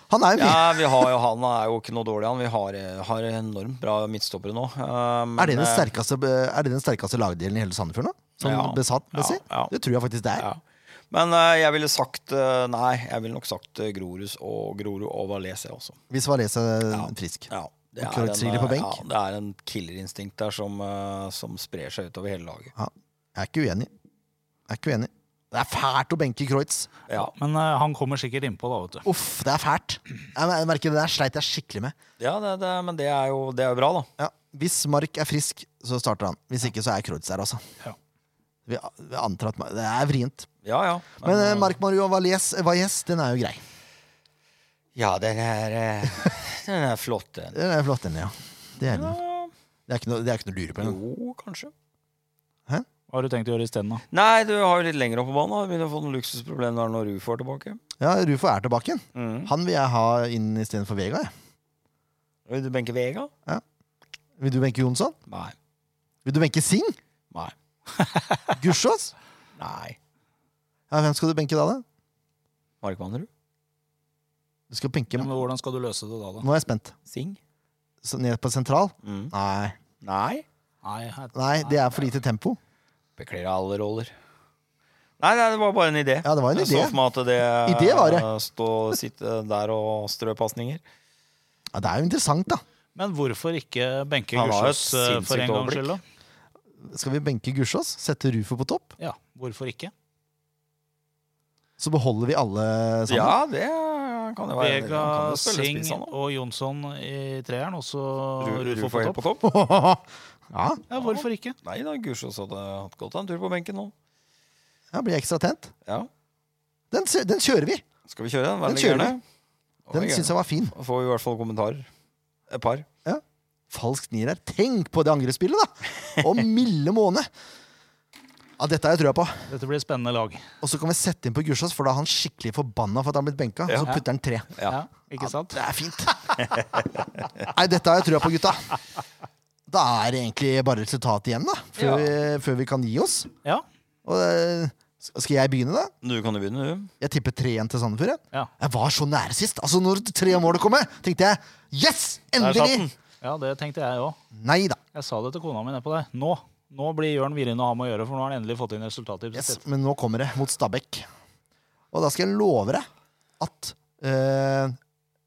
Speaker 2: Han er jo mye
Speaker 3: Ja, vi har jo han er jo ikke noe dårlig, han. Vi har, eh, har enormt bra midtstoppere nå. eh, men,
Speaker 2: Er det den
Speaker 3: eh,
Speaker 2: sterkeste, er det den sterkeste lagdelen i hele Sandefjord nå? Sånn
Speaker 3: Ja.
Speaker 2: besatt, messig?
Speaker 3: Ja, ja.
Speaker 2: Det tror jeg faktisk det er.
Speaker 3: Ja. Men eh, jeg ville sagt eh, Nei, jeg ville nok sagt eh, Grorud og Grorud og Valais, jeg også.
Speaker 2: Hvis Valese er
Speaker 3: Ja.
Speaker 2: frisk.
Speaker 3: Ja,
Speaker 2: Og
Speaker 3: det, er en,
Speaker 2: Kreuzriller på
Speaker 3: eh, ja,
Speaker 2: benk.
Speaker 3: det er en killerinstinkt der som, eh, som sprer seg utover hele laget.
Speaker 2: Jeg er ikke uenig. Jeg er ikke uenig. Det er fælt å benke Kreutz.
Speaker 3: Ja,
Speaker 1: Men eh, han kommer sikkert innpå, da, vet du.
Speaker 2: Uff, det er fælt. Jeg mer- merker Det der sleit jeg skikkelig med.
Speaker 3: ja det, det, men det er jo det er jo bra, da.
Speaker 2: Ja. Hvis Mark er frisk, så starter han. Hvis ikke, så er Kreutz der, altså.
Speaker 1: Ja.
Speaker 2: Vi, vi antar at Mar- Det er vrient.
Speaker 3: Ja, ja.
Speaker 2: Men eh,
Speaker 3: eh,
Speaker 2: Mark Mario Valles, Valles, den er jo grei.
Speaker 3: Ja, den er, eh, den er flott, den.
Speaker 2: Den er flott, den, ja. Det er, den. Det er ikke noe, det er ikke noe å lure på. engang.
Speaker 3: Jo, kanskje.
Speaker 1: Hva har du tenkt å gjøre isteden, da?
Speaker 3: Nei, du har jo litt lenger opp på banen. da. Du begynner å få noen luksusproblemer der når Rufo er tilbake.
Speaker 2: Ja, Rufo er tilbake igjen.
Speaker 3: Mm.
Speaker 2: Han vil jeg ha inn istedenfor Vega. Jeg.
Speaker 3: Vil du benke Vega?
Speaker 2: Vil du benke Jonsson?
Speaker 3: Nei.
Speaker 2: Vil du benke Singh?
Speaker 3: Nei.
Speaker 2: Gussiås?
Speaker 3: Nei.
Speaker 2: Ja, hvem skal du benke da, da?
Speaker 3: Mark Mannerud?
Speaker 2: Du skal benke
Speaker 1: Ja, men hvordan skal du løse det da, da?
Speaker 2: Nå er jeg spent.
Speaker 3: Sing?
Speaker 2: Så ned på sentral?
Speaker 3: Mm.
Speaker 2: Nei.
Speaker 3: Nei.
Speaker 1: Nei, jeg-
Speaker 2: Nei, det er for lite tempo.
Speaker 3: Beklager alle roller. Nei, nei, det var bare en idé.
Speaker 2: Ja, det var en
Speaker 3: Jeg så
Speaker 2: idé.
Speaker 3: for meg at det
Speaker 2: Idé var det.
Speaker 3: eh, Stå sitte der og strø pasninger.
Speaker 2: Ja, det er jo interessant, da.
Speaker 1: Men hvorfor ikke benke
Speaker 3: Han har jo et
Speaker 1: Gussiås eh, for
Speaker 3: sinnssykt
Speaker 1: en gangs
Speaker 3: overblikk.
Speaker 1: skyld, da?
Speaker 2: Skal vi benke Gussiås, sette Rufo på topp,
Speaker 1: Ja, hvorfor ikke?
Speaker 2: så beholder vi alle sammen?
Speaker 3: Ja, det kan jo være han
Speaker 1: Vega,
Speaker 3: kan jo spille
Speaker 1: Singh
Speaker 3: spiss, han også.
Speaker 1: og Jonsson i treeren, og så
Speaker 3: Ru-
Speaker 1: Rufo på
Speaker 3: helt
Speaker 1: topp.
Speaker 3: topp.
Speaker 2: Ja. ja,
Speaker 1: Ja, hvorfor ikke?
Speaker 3: Nei da, Gussiås hadde hatt godt av en tur på benken nå.
Speaker 2: ja blir jeg ekstra tent.
Speaker 3: Ja,
Speaker 2: Den, se- den kjører vi!
Speaker 3: Skal vi kjøre den?
Speaker 2: Den
Speaker 3: Vær
Speaker 2: kjører
Speaker 3: gjerne.
Speaker 2: Den syns jeg var fin.
Speaker 3: Da får vi i hvert fall kommentarer. Et par.
Speaker 2: Falsk nier her. Tenk på det angrespillet, da! Å, milde måne! Ja, dette har jeg trua på.
Speaker 1: Dette blir et spennende lag.
Speaker 2: Og så kan vi sette inn på Gussiås, for da er han skikkelig forbanna for at han er blitt benka. Og så putter han tre.
Speaker 1: Ja.
Speaker 3: Ja.
Speaker 1: ikke sant?
Speaker 2: Det er fint. Nei, dette har jeg trua på, gutta. Da er det egentlig bare resultatet igjen, da. Før,
Speaker 3: Ja.
Speaker 2: vi, før vi kan gi oss.
Speaker 1: Ja.
Speaker 2: Og, eh, skal jeg begynne, da?
Speaker 3: Du kan jo begynne, du.
Speaker 2: Jeg tipper 3-1 til Sandefjord. jeg.
Speaker 1: Ja.
Speaker 2: Jeg var så nære sist. Altså, når det tre målet kommer, tenkte jeg yes!
Speaker 3: Der satt
Speaker 2: Endelig!
Speaker 3: den.
Speaker 1: ja, det tenkte jeg òg.
Speaker 2: Nei da.
Speaker 1: Jeg sa det til kona mi nedpå der. Nå Nå blir Jørn Virin å ha med å gjøre, for nå har han endelig fått inn resultattipset
Speaker 2: Yes,
Speaker 1: sitt.
Speaker 2: men nå kommer det, mot Stabæk. Og da skal jeg love deg at eh,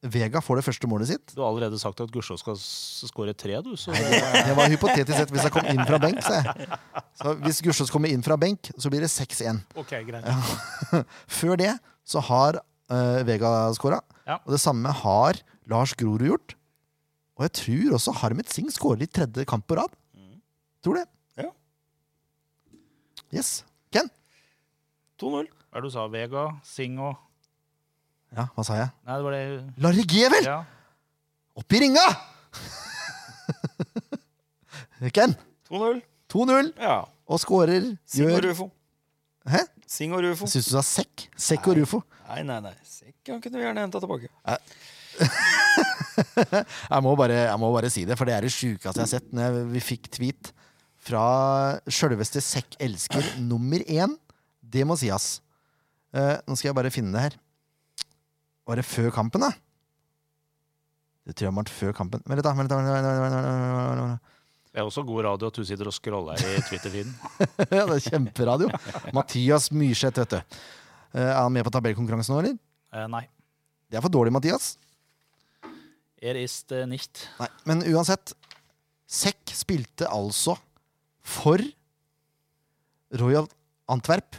Speaker 2: Vega får det første målet sitt.
Speaker 1: Du har allerede sagt at Gusjå skal s- skåre tre, du. Så det,
Speaker 2: Det var hypotetisk sett hvis jeg kom inn fra benk. sa jeg. Så hvis Gussiås kommer inn fra benk, så blir det 6-1.
Speaker 1: ok, greit.
Speaker 2: Før det så har eh, Vega skåra,
Speaker 1: Ja.
Speaker 2: og det samme har Lars Grorud gjort. Og jeg tror også Harmet Singh skårer i tredje kamp på rad. Tror det.
Speaker 3: Ja.
Speaker 2: Yes. Ken?
Speaker 3: 2-0.
Speaker 1: Hva er det du sa? Vega, Sing og
Speaker 2: Ja, hva sa jeg?
Speaker 1: Nei, det var det
Speaker 2: Larry G, vel!
Speaker 1: Ja.
Speaker 2: Opp i ringa! Ken,
Speaker 3: 2-0.
Speaker 2: 2-0,
Speaker 3: Ja.
Speaker 2: og skårer
Speaker 3: Sing og
Speaker 2: gjør
Speaker 3: Rufo.
Speaker 2: Hæ?
Speaker 3: Sing og Rufo.
Speaker 2: Syns du sa sekk? Sekk og Rufo.
Speaker 3: Nei, nei, nei. Sekk han kunne vi gjerne henta tilbake.
Speaker 2: Jeg må bare, jeg må bare si det, for det er det sjukeste jeg har sett. Når jeg- vi fikk tweet fra sjølveste Sekk elsker nummer én. Det må sies. Eh, nå skal jeg bare finne det her. Var det før kampen, da? Det tror jeg var før kampen. Vent litt, da. Vent litt, da, vent litt, da, vent litt, da, vent litt, da, vent litt, da.
Speaker 1: Det er også god radio at du sitter og scroller i Twitter-feeden.
Speaker 2: Ja, det er kjemperadio. Mathias Myrseth, vet du. Eh, Er han med på tabellkonkurransen nå, eller?
Speaker 1: Eh, nei.
Speaker 2: Det er for dårlig, Mathias.
Speaker 1: Er ist eh, nicht.
Speaker 2: Nei, men uansett Sekk spilte altså for Royal Antwerp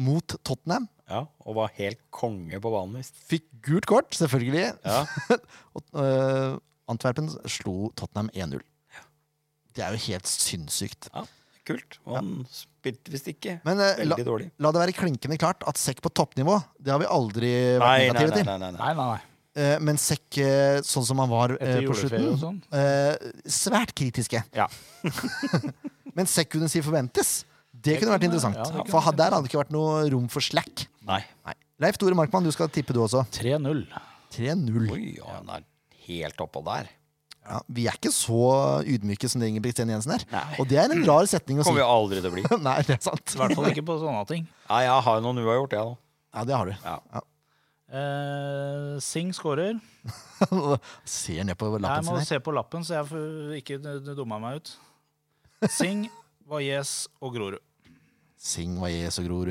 Speaker 2: mot Tottenham.
Speaker 3: Ja, og var helt konge på banen visst.
Speaker 2: Fikk gult kort, selvfølgelig.
Speaker 3: Ja.
Speaker 2: Og, øh, Antwerpen slo Tottenham 1-0. Det er jo helt sinnssykt.
Speaker 3: Kult. Og han spilte visst ikke.
Speaker 2: Men øh, la,
Speaker 3: Veldig dårlig.
Speaker 2: la det være klinkende klart at Sekk på toppnivå, det har vi aldri vært
Speaker 3: Nei, nei,
Speaker 2: negative
Speaker 3: nei.
Speaker 2: til.
Speaker 3: nei, nei, nei.
Speaker 1: Nei, nei, nei.
Speaker 2: Eh, Men Sekk, eh, sånn som han var eh,
Speaker 1: Etter
Speaker 2: på
Speaker 1: juleferie og sånn.
Speaker 2: slutten, eh, svært kritiske.
Speaker 1: Ja.
Speaker 2: Men sekk kunne si forventes. Det
Speaker 1: Det
Speaker 2: kunne vært
Speaker 1: kunne-
Speaker 2: interessant.
Speaker 1: ja, det kunne
Speaker 2: for ha- der hadde det ikke vært noe rom for slack.
Speaker 3: nei.
Speaker 2: Leif Tore Markmann, du skal tippe du også.
Speaker 1: 3-0.
Speaker 2: 3-0.
Speaker 3: Oi, ja, han er helt oppå der.
Speaker 2: Ja, vi er ikke så ydmyke som det Ingebrigtsen Jensen er.
Speaker 3: Nei.
Speaker 2: Og det er en rar setning å si.
Speaker 3: Kommer jo aldri til å bli.
Speaker 2: Nei, det er sant.
Speaker 1: I hvert fall ikke på sånne ting.
Speaker 3: Nei, jeg har jo noen uavgjort, jeg, da.
Speaker 2: Ja, det har du.
Speaker 3: Ja.
Speaker 1: Eh, Sing skårer.
Speaker 2: Ser ned på
Speaker 1: Jeg
Speaker 2: lappen
Speaker 1: må
Speaker 2: sin her.
Speaker 1: se på lappen, så jeg får ikke d- d- dummer meg ut. Sing, Valles og Grorud.
Speaker 2: Sing Valles og Grorud.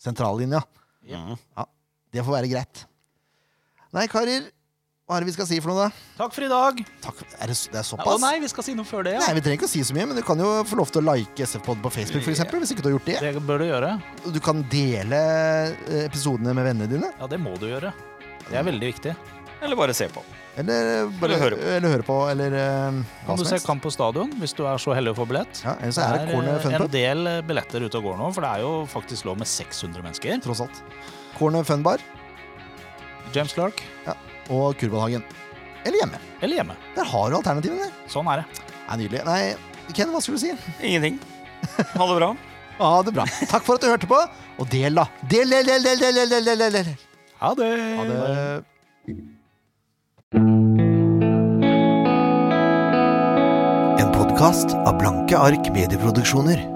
Speaker 2: sentrallinja.
Speaker 3: Mhm.
Speaker 2: Det får være greit. Nei, karer. Hva er det vi skal si for noe, da?
Speaker 1: Takk for i dag.
Speaker 2: Takk. Er det, det
Speaker 1: Å
Speaker 2: er såpass?
Speaker 1: nei, vi skal si noe før det, ja.
Speaker 2: Nei, Vi trenger ikke å si så mye, men du kan jo få lov til å like SF-pod på Facebook. For eksempel, hvis ikke Du har gjort det
Speaker 1: Det bør du gjøre.
Speaker 2: Du kan dele eh, episodene med vennene dine.
Speaker 1: Ja, det må du gjøre. Det er veldig viktig.
Speaker 3: Eller bare se på.
Speaker 2: Eller eh, bare
Speaker 3: Eller høre
Speaker 2: høre
Speaker 3: på.
Speaker 2: på. Eller, høre på, eller eh, hva
Speaker 1: Kan du
Speaker 2: som
Speaker 1: se
Speaker 2: helst.
Speaker 1: kamp på stadion hvis du er så heldig å få billett?
Speaker 2: Ja, eller så er det
Speaker 1: eh,
Speaker 2: Corner Fun
Speaker 1: en
Speaker 2: Pub,
Speaker 1: del eh, billetter ute og går nå, for det er jo faktisk lov med 600 mennesker.
Speaker 2: tross alt. Corner Fun Bar
Speaker 1: James Clark
Speaker 2: og Kurbanhagen. Eller hjemme.
Speaker 1: eller hjemme.
Speaker 2: Der har du alternativene. Det
Speaker 1: Sånn er det.
Speaker 2: er nydelig. Nei, Ken, hva skulle du si?
Speaker 3: Ingenting. Ha det bra.
Speaker 2: Ha det bra. Takk for at du hørte på, og del, da. Del, del, del, del, del, del, del, del, del.
Speaker 1: Ha det!
Speaker 2: Ha det. En podkast av Blanke ark medieproduksjoner.